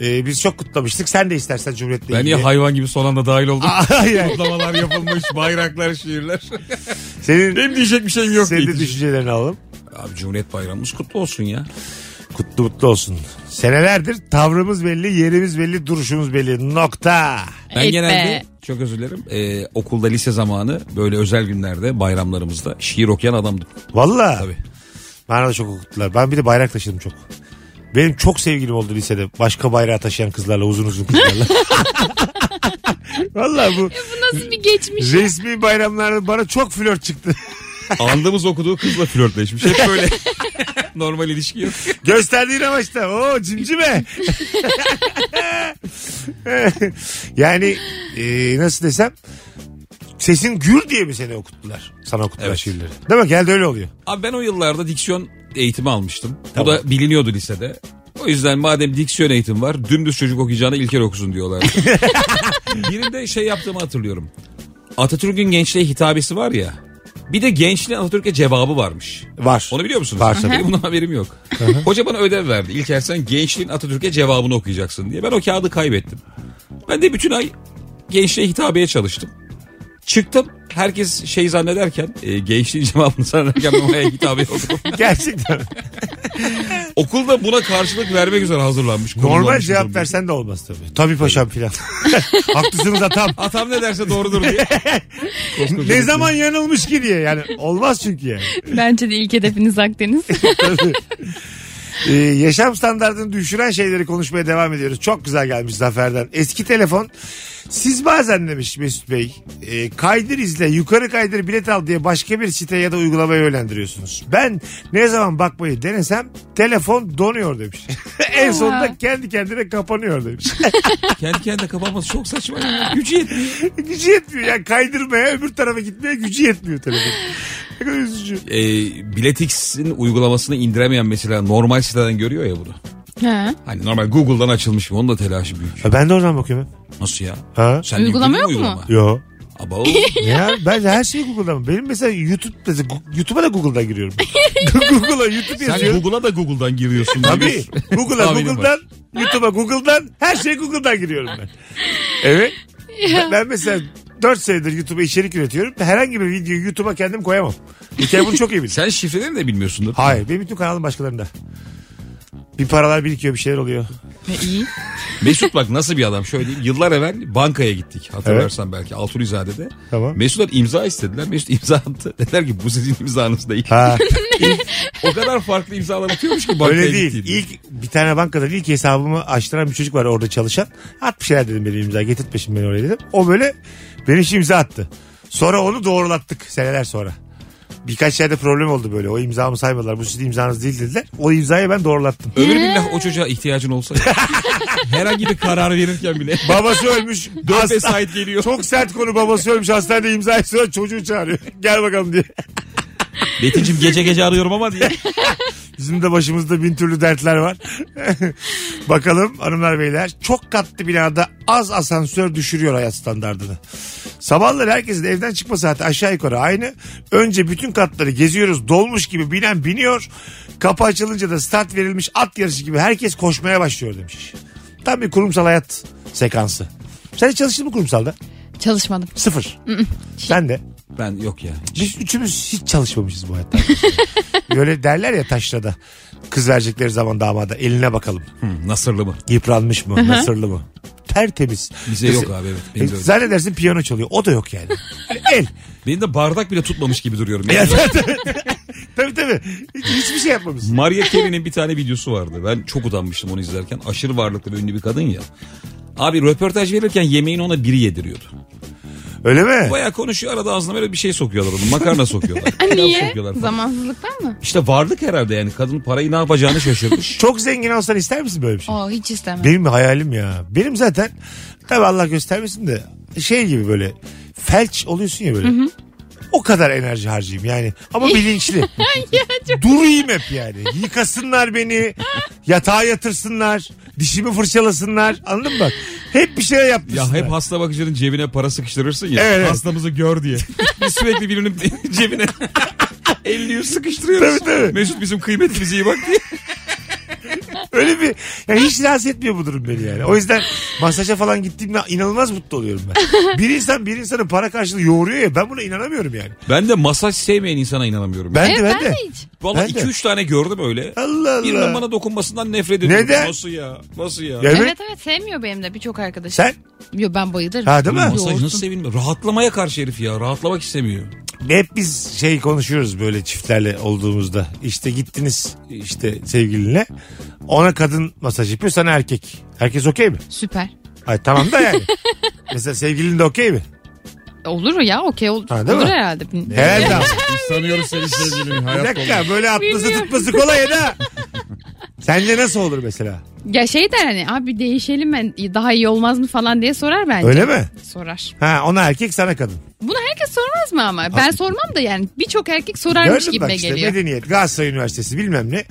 S3: Ee, biz çok kutlamıştık. Sen de istersen Cumhuriyet'le
S6: Ben niye
S3: ilgili.
S6: hayvan gibi son anda dahil oldum?
S3: Hayır. hayır.
S6: Kutlamalar yapılmış, bayraklar, şiirler.
S3: Senin,
S6: Benim diyecek bir şeyim yok.
S3: senin de
S6: diye düşünüyorum.
S3: düşüncelerini alalım.
S6: Abi Cumhuriyet Bayramımız kutlu olsun ya.
S3: Kutlu mutlu olsun. Senelerdir tavrımız belli, yerimiz belli, duruşumuz belli. Nokta.
S6: Ben
S4: Evet
S6: genelde
S4: be.
S6: çok özür dilerim. e, okulda lise zamanı böyle özel günlerde bayramlarımızda şiir okuyan adamdım.
S3: Valla.
S6: Tabii.
S3: Bana da çok okuttular. Ben bir de bayrak taşıdım çok. Benim çok sevgilim oldu lisede. Başka bayrağı taşıyan kızlarla uzun uzun kızlarla. Valla bu
S4: Bu nasıl bir geçmiş?
S3: resmi bayramlarda bana çok flört çıktı.
S6: Andığımız okuduğu kızla flörtleşmiş. Hep böyle normal ilişki yok.
S3: Gösterdiğin amaçta. Oo cimcime. yani e, nasıl desem sesin gür diye mi seni okuttular? Sana okuttular
S6: Evet.
S3: şiirleri. Değil mi? Geldi öyle oluyor.
S6: Abi ben o yıllarda diksiyon eğitimi almıştım.
S3: Tamam.
S6: Bu da biliniyordu lisede. O yüzden madem diksiyon eğitimi var dümdüz çocuk okuyacağına İlker okusun diyorlardı. Birinde şey yaptığımı hatırlıyorum. Atatürk'ün gençliğe hitabesi var ya. Bir de gençliğin Atatürk'e cevabı varmış.
S3: Var.
S6: Onu biliyor musunuz?
S3: Var tabii.
S6: Benim bundan haberim yok. Hoca bana ödev verdi. İlker sen gençliğin Atatürk'e cevabını okuyacaksın diye. Ben o kağıdı kaybettim. Ben de bütün ay gençliğe hitabeye çalıştım. Çıktım. Herkes şey zannederken, e, gençliğin cevabını zannederken ben oraya hitabeye okudum.
S3: Gerçekten.
S6: Okulda buna karşılık vermek üzere hazırlanmış.
S3: Normal
S6: konumlanmış
S3: cevap
S6: oturmuş.
S3: versen de olmaz tabii. Tabii paşam filan. Haklısınız atam.
S6: Atam ne derse doğrudur diye. Koskoca
S3: ne
S6: bir-
S3: zaman yanılmış ki diye. Yani olmaz çünkü yani.
S4: Bence de ilk hedefiniz Akdeniz.
S3: Ee, yaşam standartını düşüren şeyleri konuşmaya devam ediyoruz. Çok güzel gelmiş Zafer'den. Eski telefon. Siz bazen demiş Mesut Bey e, kaydır izle yukarı kaydır bilet al diye başka bir site ya da uygulamaya yönlendiriyorsunuz. Ben ne zaman bakmayı denesem telefon donuyor demiş. en sonunda kendi kendine kapanıyor demiş.
S6: Kendi kendine kapanması çok saçma. ya. Gücü yetmiyor.
S3: gücü yetmiyor ya kaydırmaya öbür tarafa gitmeye gücü yetmiyor telefon. Ne kadar üzücü.
S6: E, Biletix'in uygulamasını indiremeyen mesela normal siteden görüyor ya bunu.
S4: ha.
S6: Hani normal Google'dan açılmış mı? Onun da telaşı büyük.
S3: Ha, ben de oradan bakıyorum.
S6: Nasıl ya?
S3: Ha?
S6: Sen de
S4: Uygulama
S6: yükledin mi
S4: yok mu?
S6: uygulama?
S3: Yo.
S6: Abo.
S3: Ya ben her şeyi Google'da mı? Benim mesela YouTube mesela Gu- YouTube'a da Google'da giriyorum. Google'a YouTube
S6: Sen
S3: yazıyorum.
S6: Google'a da Google'dan giriyorsun.
S3: Tabii. Google'a
S6: Tahminim var.
S3: Google'dan YouTube'a Google'dan her şeye Google'dan giriyorum ben. Evet. Ben, ben mesela 4 senedir YouTube'a içerik üretiyorum. Herhangi bir videoyu YouTube'a kendim koyamam. Bir kere bunu çok iyi bilirim.
S6: Sen şifrelerini de bilmiyorsundur.
S3: Hayır. Benim bütün kanalım başkalarında. Bir paralar birikiyor bir şeyler oluyor.
S4: iyi.
S6: Mesut bak nasıl bir adam şöyle diyeyim. Yıllar evvel bankaya gittik hatırlarsan belki Altunizade'de.
S3: Tamam.
S6: Mesut'tan imza istediler. Mesut imza attı. Dediler ki bu sizin imzanız değil.
S3: Ha.
S6: o kadar farklı imzalar atıyormuş ki bankaya
S3: Öyle değil.
S6: gittiğinde.
S3: İlk bir tane bankada ilk hesabımı açtıran bir çocuk var orada çalışan. At bir şeyler dedim benim imza getirtme şimdi beni oraya dedim. O böyle benim için imza attı. Sonra onu doğrulattık seneler sonra. Birkaç yerde problem oldu böyle. O imzamı saymadılar. Bu sizin imzanız değil dediler. O imzayı ben doğrulattım.
S6: Ömür billah o çocuğa ihtiyacın olsa. Herhangi bir karar verirken bile.
S3: Babası ölmüş.
S6: Dört
S3: hasta-
S6: vesait geliyor.
S3: Çok sert konu babası ölmüş hastanede imzayı sonra çocuğu çağırıyor. Gel bakalım diye.
S6: Betin'cim gece gece arıyorum ama diye.
S3: Bizim de başımızda bin türlü dertler var. Bakalım hanımlar beyler. Çok katlı binada az asansör düşürüyor hayat standartını. Sabahları herkesin evden çıkma saati aşağı yukarı aynı. Önce bütün katları geziyoruz. Dolmuş gibi binen biniyor. Kapı açılınca da start verilmiş at yarışı gibi herkes koşmaya başlıyor demiş. Tam bir kurumsal hayat sekansı. Sen hiç çalıştın mı kurumsalda?
S4: Çalışmadım.
S3: Sıfır. Sen de.
S6: Ben yok ya.
S3: Biz üçümüz hiç çalışmamışız bu hayatta. Böyle derler ya taşrada. Kız verecekleri zaman damada eline bakalım.
S6: Hı, Nasırlı mı?
S3: Yıpranmış mı? Nasırlı mı? Tertemiz.
S6: Bize
S3: Mesela-
S6: yok abi evet.
S3: E,
S6: Benim de, öyle.
S3: Zannedersin piyano çalıyor. O da yok yani. El.
S6: Benim de bardak bile tutmamış gibi duruyorum.
S3: Tabii tabii. Hiç, hiçbir şey yapmamış.
S6: Maria Carey'nin bir tane videosu vardı. Ben çok utanmıştım onu izlerken. Aşırı varlıklı ve ünlü bir kadın ya. Abi röportaj verirken yemeğini ona biri yediriyordu.
S3: Öyle mi?
S6: Baya konuşuyor arada ağzına böyle bir şey sokuyorlar onu. Makarna sokuyorlar. pilav
S4: Niye?
S6: sokuyorlar falan.
S4: Zamansızlıktan mı?
S6: İşte varlık herhalde yani. Kadın parayı ne yapacağını şaşırmış.
S3: Çok zengin olsan ister misin böyle bir şey?
S4: Oo hiç istemem.
S3: Benim hayalim ya. Benim zaten tabii Allah göstermesin de şey gibi böyle felç oluyorsun ya böyle. o kadar enerji harcayayım yani. Ama bilinçli. Durayım hep yani. Yıkasınlar beni. Yatağa yatırsınlar. Dişimi fırçalasınlar. Anladın mı bak? Hep bir şey
S6: Ya
S3: yaptırsınlar.
S6: hep hasta bakıcının cebine para sıkıştırırsın ya.
S3: Evet, evet.
S6: Hastamızı gör diye. Biz sürekli birinin cebine 50 yüz sıkıştırıyoruz.
S3: Tabii, tabii.
S6: Mesut bizim kıymetimize iyi bak diye.
S3: Öyle bir ya hiç rahatsız etmiyor bu durum beni yani. O yüzden masaja falan gittiğimde inanılmaz mutlu oluyorum ben. Bir insan bir insanın para karşılığı yoğuruyor ya ben buna inanamıyorum yani.
S6: Ben de masaj sevmeyen insana inanamıyorum.
S3: Ben
S4: Evet,
S3: de ben
S4: ben
S3: de.
S4: de hiç.
S6: Valla
S3: ben de.
S6: 2-3 tane gördüm öyle.
S3: Allah Allah.
S6: Birinin bana dokunmasından nefret ediyorum.
S3: Neden?
S6: Nasıl ya? Nasıl ya?
S3: Ya
S4: Evet.
S3: evet.
S4: evet sevmiyor benim de birçok arkadaşım.
S3: Sen
S4: Yo ben bayılırım.
S3: Ha, değil mi?
S4: Yoğurtlu.
S6: Masaj nasıl sevinme? Rahatlamaya karşı herif ya. Rahatlamak istemiyor.
S3: hep biz şey konuşuyoruz böyle çiftlerle olduğumuzda. İşte gittiniz işte sevgilinle. Ona kadın masaj yapıyor sana erkek. Herkes okey mi?
S4: Süper.
S3: Ay tamam da yani. Mesela sevgilin de okey mi?
S4: Olur ya okey ol-
S3: Ha,
S4: olur
S3: değil mi?
S4: herhalde.
S3: Herhalde abi.
S7: Biz sanıyoruz seni sevgilini.
S3: Bir
S7: Hayat dolu.
S3: dakika böyle atlası
S4: Bilmiyorum.
S3: tutması kolay Eda. Sence nasıl olur mesela?
S4: Ya şey der hani abi değişelim ben daha iyi olmaz mı falan diye sorar bence.
S3: Öyle mi?
S4: Sorar.
S3: Ha ona erkek sana kadın.
S4: Bunu herkes sormaz mı ama? Ben sormam da yani birçok erkek sorarmış
S3: Gördün bak
S4: gibime
S3: işte
S4: geliyor.
S3: medeniyet Galatasaray Üniversitesi bilmem ne.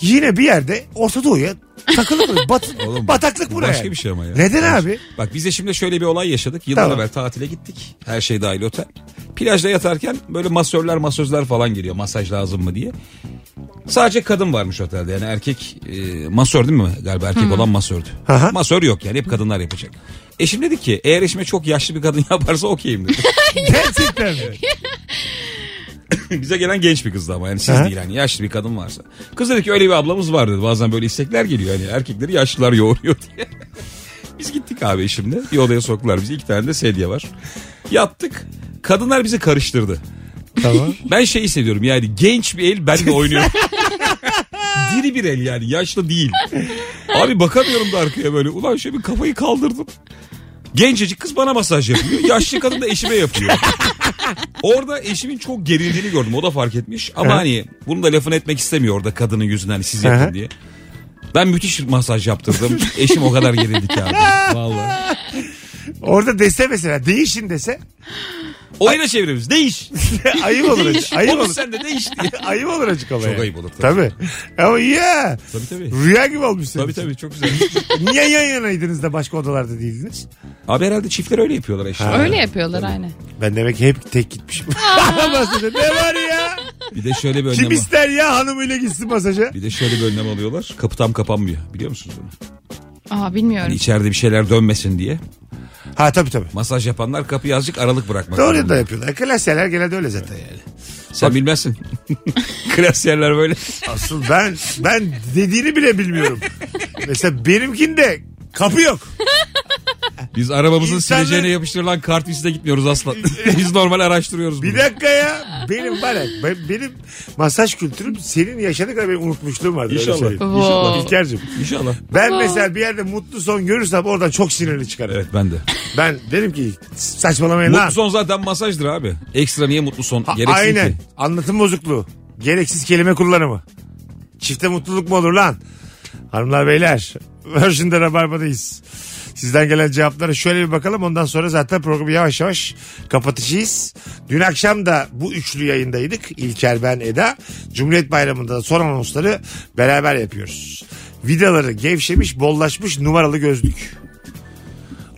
S3: Yine bir yerde Orta Doğu'ya takılır. Bat,
S6: Oğlum,
S3: bataklık
S6: bu
S3: buraya.
S6: başka bir şey ama ya.
S3: Neden
S6: Başka-
S3: abi?
S6: Bak biz de şimdi şöyle bir olay yaşadık. Yıllar
S3: Tamam.
S6: evvel tatile gittik. Her şey dahil otel. Plajda yatarken böyle masörler masözler falan geliyor. Masaj lazım mı diye. Sadece kadın varmış otelde. Yani erkek e, masör değil mi? Galiba erkek olan masördü.
S3: Aha.
S6: Masör yok yani hep kadınlar yapacak. Eşim dedi ki eğer eşime çok yaşlı bir kadın yaparsa okeyim dedi.
S3: Gerçekten mi?
S6: Bize gelen genç bir kızdı ama yani siz
S3: Aha.
S6: değil hani yaşlı bir kadın varsa. Kız dedi ki öyle bir ablamız var dedi. Bazen böyle istekler geliyor hani erkekleri yaşlılar yoğuruyor diye. Biz gittik abi eşimle. Bir odaya soktular bizi. iki tane de sedye var. Yattık. Kadınlar bizi karıştırdı.
S3: tamam.
S6: Ben şey hissediyorum yani genç bir el benle oynuyor. Diri bir el yani yaşlı değil. Abi bakamıyorum da arkaya böyle. Ulan şöyle bir kafayı kaldırdım. Gencecik kız bana masaj yapıyor. Yaşlı kadın da eşime yapıyor. Orada eşimin çok gerildiğini gördüm. O da fark etmiş. Ama hani bunu da lafını etmek istemiyor orada kadının yüzünden hani siz
S3: Aha.
S6: yapın diye. Ben müthiş masaj yaptırdım. Eşim o kadar gerildi ki abi. Vallahi.
S3: Orada dese mesela değişin dese
S6: Oyuna çeviririz. Değiş.
S3: ayıp olur. acı- ayıp
S6: Oğlum
S3: olur.
S6: sen de değiş.
S3: ayıp olur açık ama.
S6: Çok
S3: yani.
S6: ayıp olur tabii.
S3: Tabii. Ama ya.
S6: Tabii tabii.
S3: Rüya gibi olmuş senin.
S6: Tabii tabii çok güzel.
S3: için. Niye yan yanaydınız da başka odalarda değildiniz?
S6: Abi herhalde çiftler öyle yapıyorlar eşler.
S4: Öyle yapıyorlar aynı.
S3: Ben demek ki hep tek gitmişim. Masaja. ne var ya?
S6: Bir de şöyle bir önlem.
S3: Kim ister ya hanımıyla gitsin masaja?
S6: Bir de şöyle bir önlem alıyorlar. Kapı tam kapanmıyor. Biliyor musunuz bunu?
S4: Aa bilmiyorum.
S6: Hani içeride bir şeyler dönmesin diye.
S3: Ha tabii tabii.
S6: Masaj yapanlar kapıyı azıcık aralık bırakmak.
S3: Doğru
S6: zorunda.
S3: da yapıyorlar. Klasyeler genelde öyle zaten yani.
S6: Sen bilmezsin. Klasiyerler böyle.
S3: Asıl ben ben dediğini bile bilmiyorum. Mesela benimkinde kapı yok.
S6: Biz arabamızın
S3: İnsanlar-
S6: sileceğine yapıştırılan kart üstüne gitmiyoruz asla. Biz normal araştırıyoruz
S3: Bir
S6: bunu.
S3: dakika ya. Benim bana ben- benim masaj kültürüm senin yaşadığı kadar benim unutmuşluğum var.
S6: İnşallah.
S4: Wow.
S3: İlker'cim.
S6: İnşallah.
S3: Ben mesela bir yerde mutlu son görürsem oradan çok sinirli çıkarım.
S6: Evet ben de.
S3: Ben derim ki saçmalamayın lan.
S6: mutlu son zaten masajdır abi. Ekstra niye mutlu son?
S3: Ha,
S6: Gereksin
S3: Aynen.
S6: ki.
S3: Anlatım bozukluğu. Gereksiz kelime kullanımı. Çifte mutluluk mu olur lan? Hanımlar beyler. Virgin'de Rabarba'dayız. Sizden gelen cevaplara şöyle bir bakalım. Ondan sonra zaten programı yavaş yavaş kapatacağız. Dün akşam da bu üçlü yayındaydık. İlker, ben, Eda. Cumhuriyet Bayramı'nda da son anonsları beraber yapıyoruz. Vidaları gevşemiş, bollaşmış numaralı gözlük.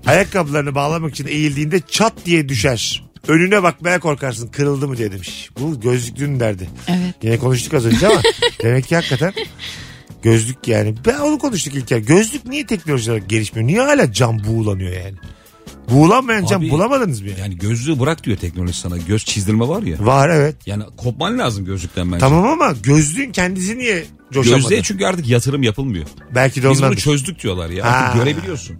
S3: Ayakkabılarını bağlamak için eğildiğinde çat diye düşer. Önüne bakmaya korkarsın kırıldı mı diye demiş. Bu gözlüklünün derdi.
S4: Evet.
S3: Yine konuştuk az önce ama demek ki hakikaten gözlük yani. Ben onu konuştuk İlker. Gözlük niye teknoloji olarak gelişmiyor? Niye hala cam buğulanıyor yani? Buğulanmayan cam
S6: Abi-
S3: bulamadınız mı yani?
S6: Yani gözlüğü bırak diyor teknoloji sana. Göz çizdirme var ya.
S3: Var evet.
S6: Yani kopman lazım gözlükten bence.
S3: Tamam ama gözlüğün kendisi niye coşamadı?
S6: Gözlüğe çünkü artık yatırım yapılmıyor.
S3: Belki de
S6: Biz bunu
S3: ondandır.
S6: çözdük diyorlar ya.
S3: Ha.
S6: Artık görebiliyorsun.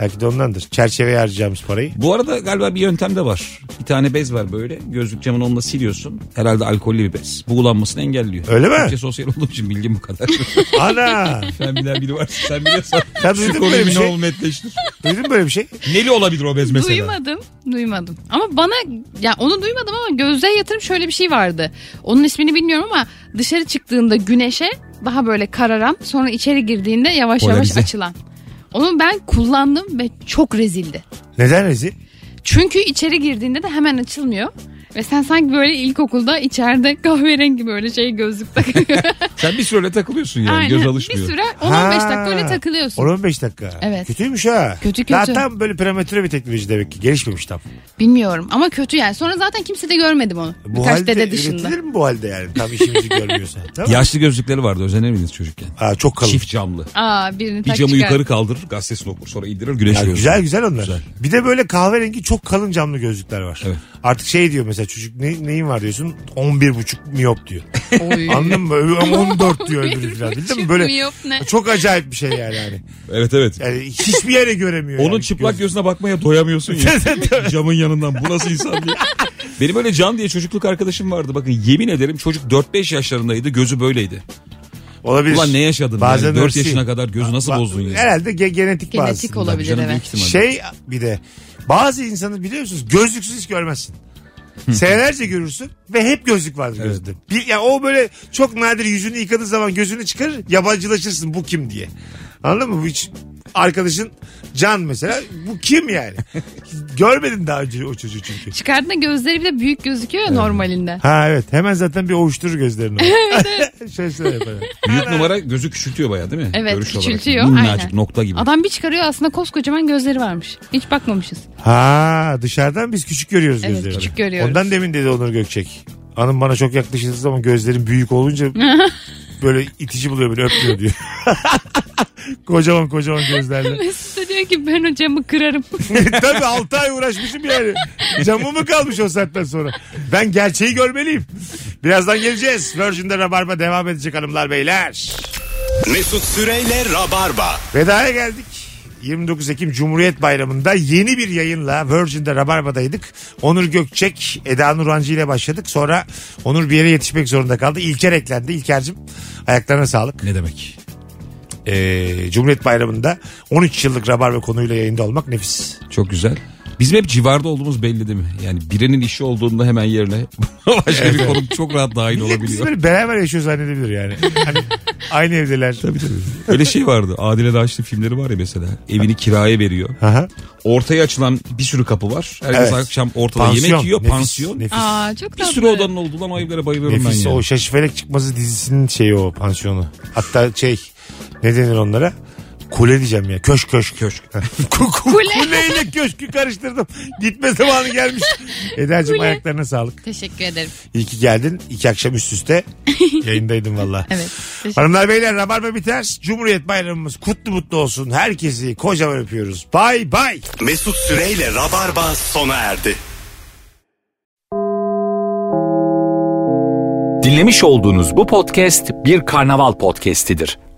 S3: Belki de ondandır. Çerçeveye harcayacağımız parayı.
S6: Bu arada galiba bir yöntem de var. Bir tane bez var böyle. Gözlük camını onunla siliyorsun. Herhalde alkollü bir bez. Buğulanmasını engelliyor.
S3: Öyle mi?
S6: Türkçe sosyal olduğum için bilgim bu kadar.
S3: Ana!
S6: sen bilen biri var. Sen biliyorsan
S3: Sen
S6: şu
S3: duydun mu böyle
S6: konuyu
S3: bir
S6: bir
S3: şey?
S6: ol netleştir.
S3: Duydun mu böyle bir şey?
S6: Neli olabilir o bez mesela?
S4: Duymadım. Duymadım. Ama bana ya onu duymadım ama gözlüğe yatırım şöyle bir şey vardı. Onun ismini bilmiyorum ama dışarı çıktığında güneşe daha böyle kararan sonra içeri girdiğinde yavaş
S6: Polarize.
S4: yavaş açılan. Onu ben kullandım ve çok rezildi.
S3: Neden rezil?
S4: Çünkü içeri girdiğinde de hemen açılmıyor. Ve sen sanki böyle ilkokulda içeride kahverengi böyle şey gözlük takıyor.
S6: Sen bir süre öyle takılıyorsun yani
S4: Aynen.
S6: göz
S4: Bir
S6: alışmıyor.
S4: süre 10-15
S3: Ha.
S4: dakika öyle takılıyorsun.
S3: 10-15 dakika.
S4: Evet.
S3: Kötüymüş ha.
S4: Kötü, kötü.
S3: Daha tam böyle prematüre bir teknoloji demek ki. Gelişmemiş tam.
S4: Bilmiyorum ama kötü yani. Sonra zaten kimse de görmedim onu.
S3: Bu
S4: Birkaç
S3: halde
S4: dede dışında.
S3: üretilir mi bu halde yani? Tam işimizi görmüyorsa. Tamam.
S6: Yaşlı gözlükleri vardı özenir miydiniz çocukken?
S3: Aa, çok kalın.
S6: Çift camlı.
S4: Aa birini
S6: Bir
S4: tak
S6: camı
S4: çıkar.
S6: yukarı kaldırır gazetesini okur sonra indirir güneş
S3: Ya
S6: görür.
S3: güzel güzel onlar.
S6: Güzel.
S3: Bir de böyle kahverengi çok kalın camlı gözlükler var.
S6: Evet.
S3: Artık şey diyor mesela çocuk ne, neyin var diyorsun 11,5 miyop diyor.
S4: Oy.
S3: Anladın mı? Öbür- 14 diyor öbürü falan. Bildin mi? Böyle
S4: Miyop ne?
S3: çok acayip bir şey yani. Yani,
S6: Evet evet.
S3: yani hiçbir yere göremiyor.
S6: Onun
S3: yani
S6: çıplak
S3: gözlük.
S6: gözüne bakmaya doyamıyorsun ya. Camın yanından bu nasıl insan diye. Benim öyle Can diye çocukluk arkadaşım vardı. Bakın yemin ederim çocuk 4-5 yaşlarındaydı gözü böyleydi.
S3: Olabilir.
S6: Ulan ne yaşadın
S3: Bazen
S6: yani 4
S3: hırsı.
S6: yaşına kadar gözü nasıl
S3: Ba-
S6: bozdun ya.
S3: Herhalde ge- genetik,
S4: Genetik
S3: bazı.
S4: olabilir
S6: Canım
S4: evet.
S6: büyük ihtimalle.
S3: Şey bir de bazı insanı biliyor musunuz gözlüksüz hiç görmezsin. Senelerce görürsün ve hep gözlük vardır gözünde. Bir, yani o böyle çok nadir yüzünü yıkadığı zaman gözünü çıkarır yabancılaşırsın bu kim diye. Anladın mı? Bu hiç arkadaşın Can mesela bu kim yani? Görmedin daha önce o çocuğu çünkü.
S4: Çıkardığında gözleri bir de büyük gözüküyor ya normalinde.
S3: Ha evet hemen zaten bir ovuşturur gözlerini. Şey Şöyle şöyle yapar.
S6: Büyük numara gözü küçültüyor bayağı değil mi?
S4: Evet,
S6: olarak.
S4: küçültüyor,
S6: Minnacık
S4: aynen.
S6: nokta gibi.
S4: Adam bir çıkarıyor aslında koskocaman gözleri varmış. Hiç bakmamışız.
S3: Ha dışarıdan biz küçük görüyoruz
S4: Evet,
S3: gözlerini.
S4: küçük görüyoruz.
S3: Ondan demin dedi Onur Gökçek. Hanım bana çok yaklaşıldığı zaman gözlerim büyük olunca böyle itici buluyor beni öpmüyor diyor. kocaman kocaman gözlerle.
S4: Mesut da diyor ki ben o camı kırarım.
S3: Tabii 6 ay uğraşmışım yani. Camı mı kalmış o saatten sonra? Ben gerçeği görmeliyim. Birazdan geleceğiz. Virgin'de Rabarba devam edecek hanımlar beyler.
S2: Mesut Süreyle Rabarba.
S3: Vedaya geldik. 29 Ekim Cumhuriyet Bayramı'nda yeni bir yayınla Virgin'de Rabarba'daydık. Onur Gökçek, Eda Nurancı ile başladık. Sonra Onur bir yere yetişmek zorunda kaldı. İlker eklendi. İlker'cim ayaklarına sağlık.
S6: Ne demek?
S3: Ee, Cumhuriyet Bayramı'nda 13 yıllık Rabarba konuyla yayında olmak nefis.
S6: Çok güzel. Bizim hep civarda olduğumuz belli değil mi? Yani birinin işi olduğunda hemen yerine başka bir konuk çok rahat dahil
S3: Millet bizi
S6: olabiliyor.
S3: böyle beraber yaşıyor zannedebilir yani. Hani aynı evdeler. Tabii tabii.
S6: Öyle şey vardı. Adile Raşit'in filmleri var ya mesela. Evini kiraya veriyor.
S3: Aha.
S6: Ortaya açılan bir sürü kapı var. Herkes
S3: Evet.
S6: akşam ortada yemek yiyor.
S3: Nefis,
S6: pansiyon.
S3: Nefis.
S4: Aa çok
S6: Bir
S4: tatlı.
S6: sürü odanın olduğu lan o evlere bayılıyorum
S3: Nefis
S6: ben yani.
S3: o şaşifelek çıkması dizisinin şeyi o pansiyonu. Hatta şey ne denir onlara? Kule diyeceğim ya. Köşk köşk. Köşk. Kule. Kuleyle köşkü karıştırdım. Gitme zamanı gelmiş. Eder'cim ayaklarına sağlık.
S4: Teşekkür ederim.
S3: İyi ki geldin. İki akşam üst üste yayındaydım valla.
S4: Evet. teşekkür-
S3: Hanımlar beyler Rabarba biter. Cumhuriyet bayramımız kutlu mutlu olsun. Herkesi kocaman öpüyoruz. Bay bay.
S2: Mesut Süreyle Rabarba sona erdi.
S1: Dinlemiş olduğunuz bu podcast bir karnaval podcastidir.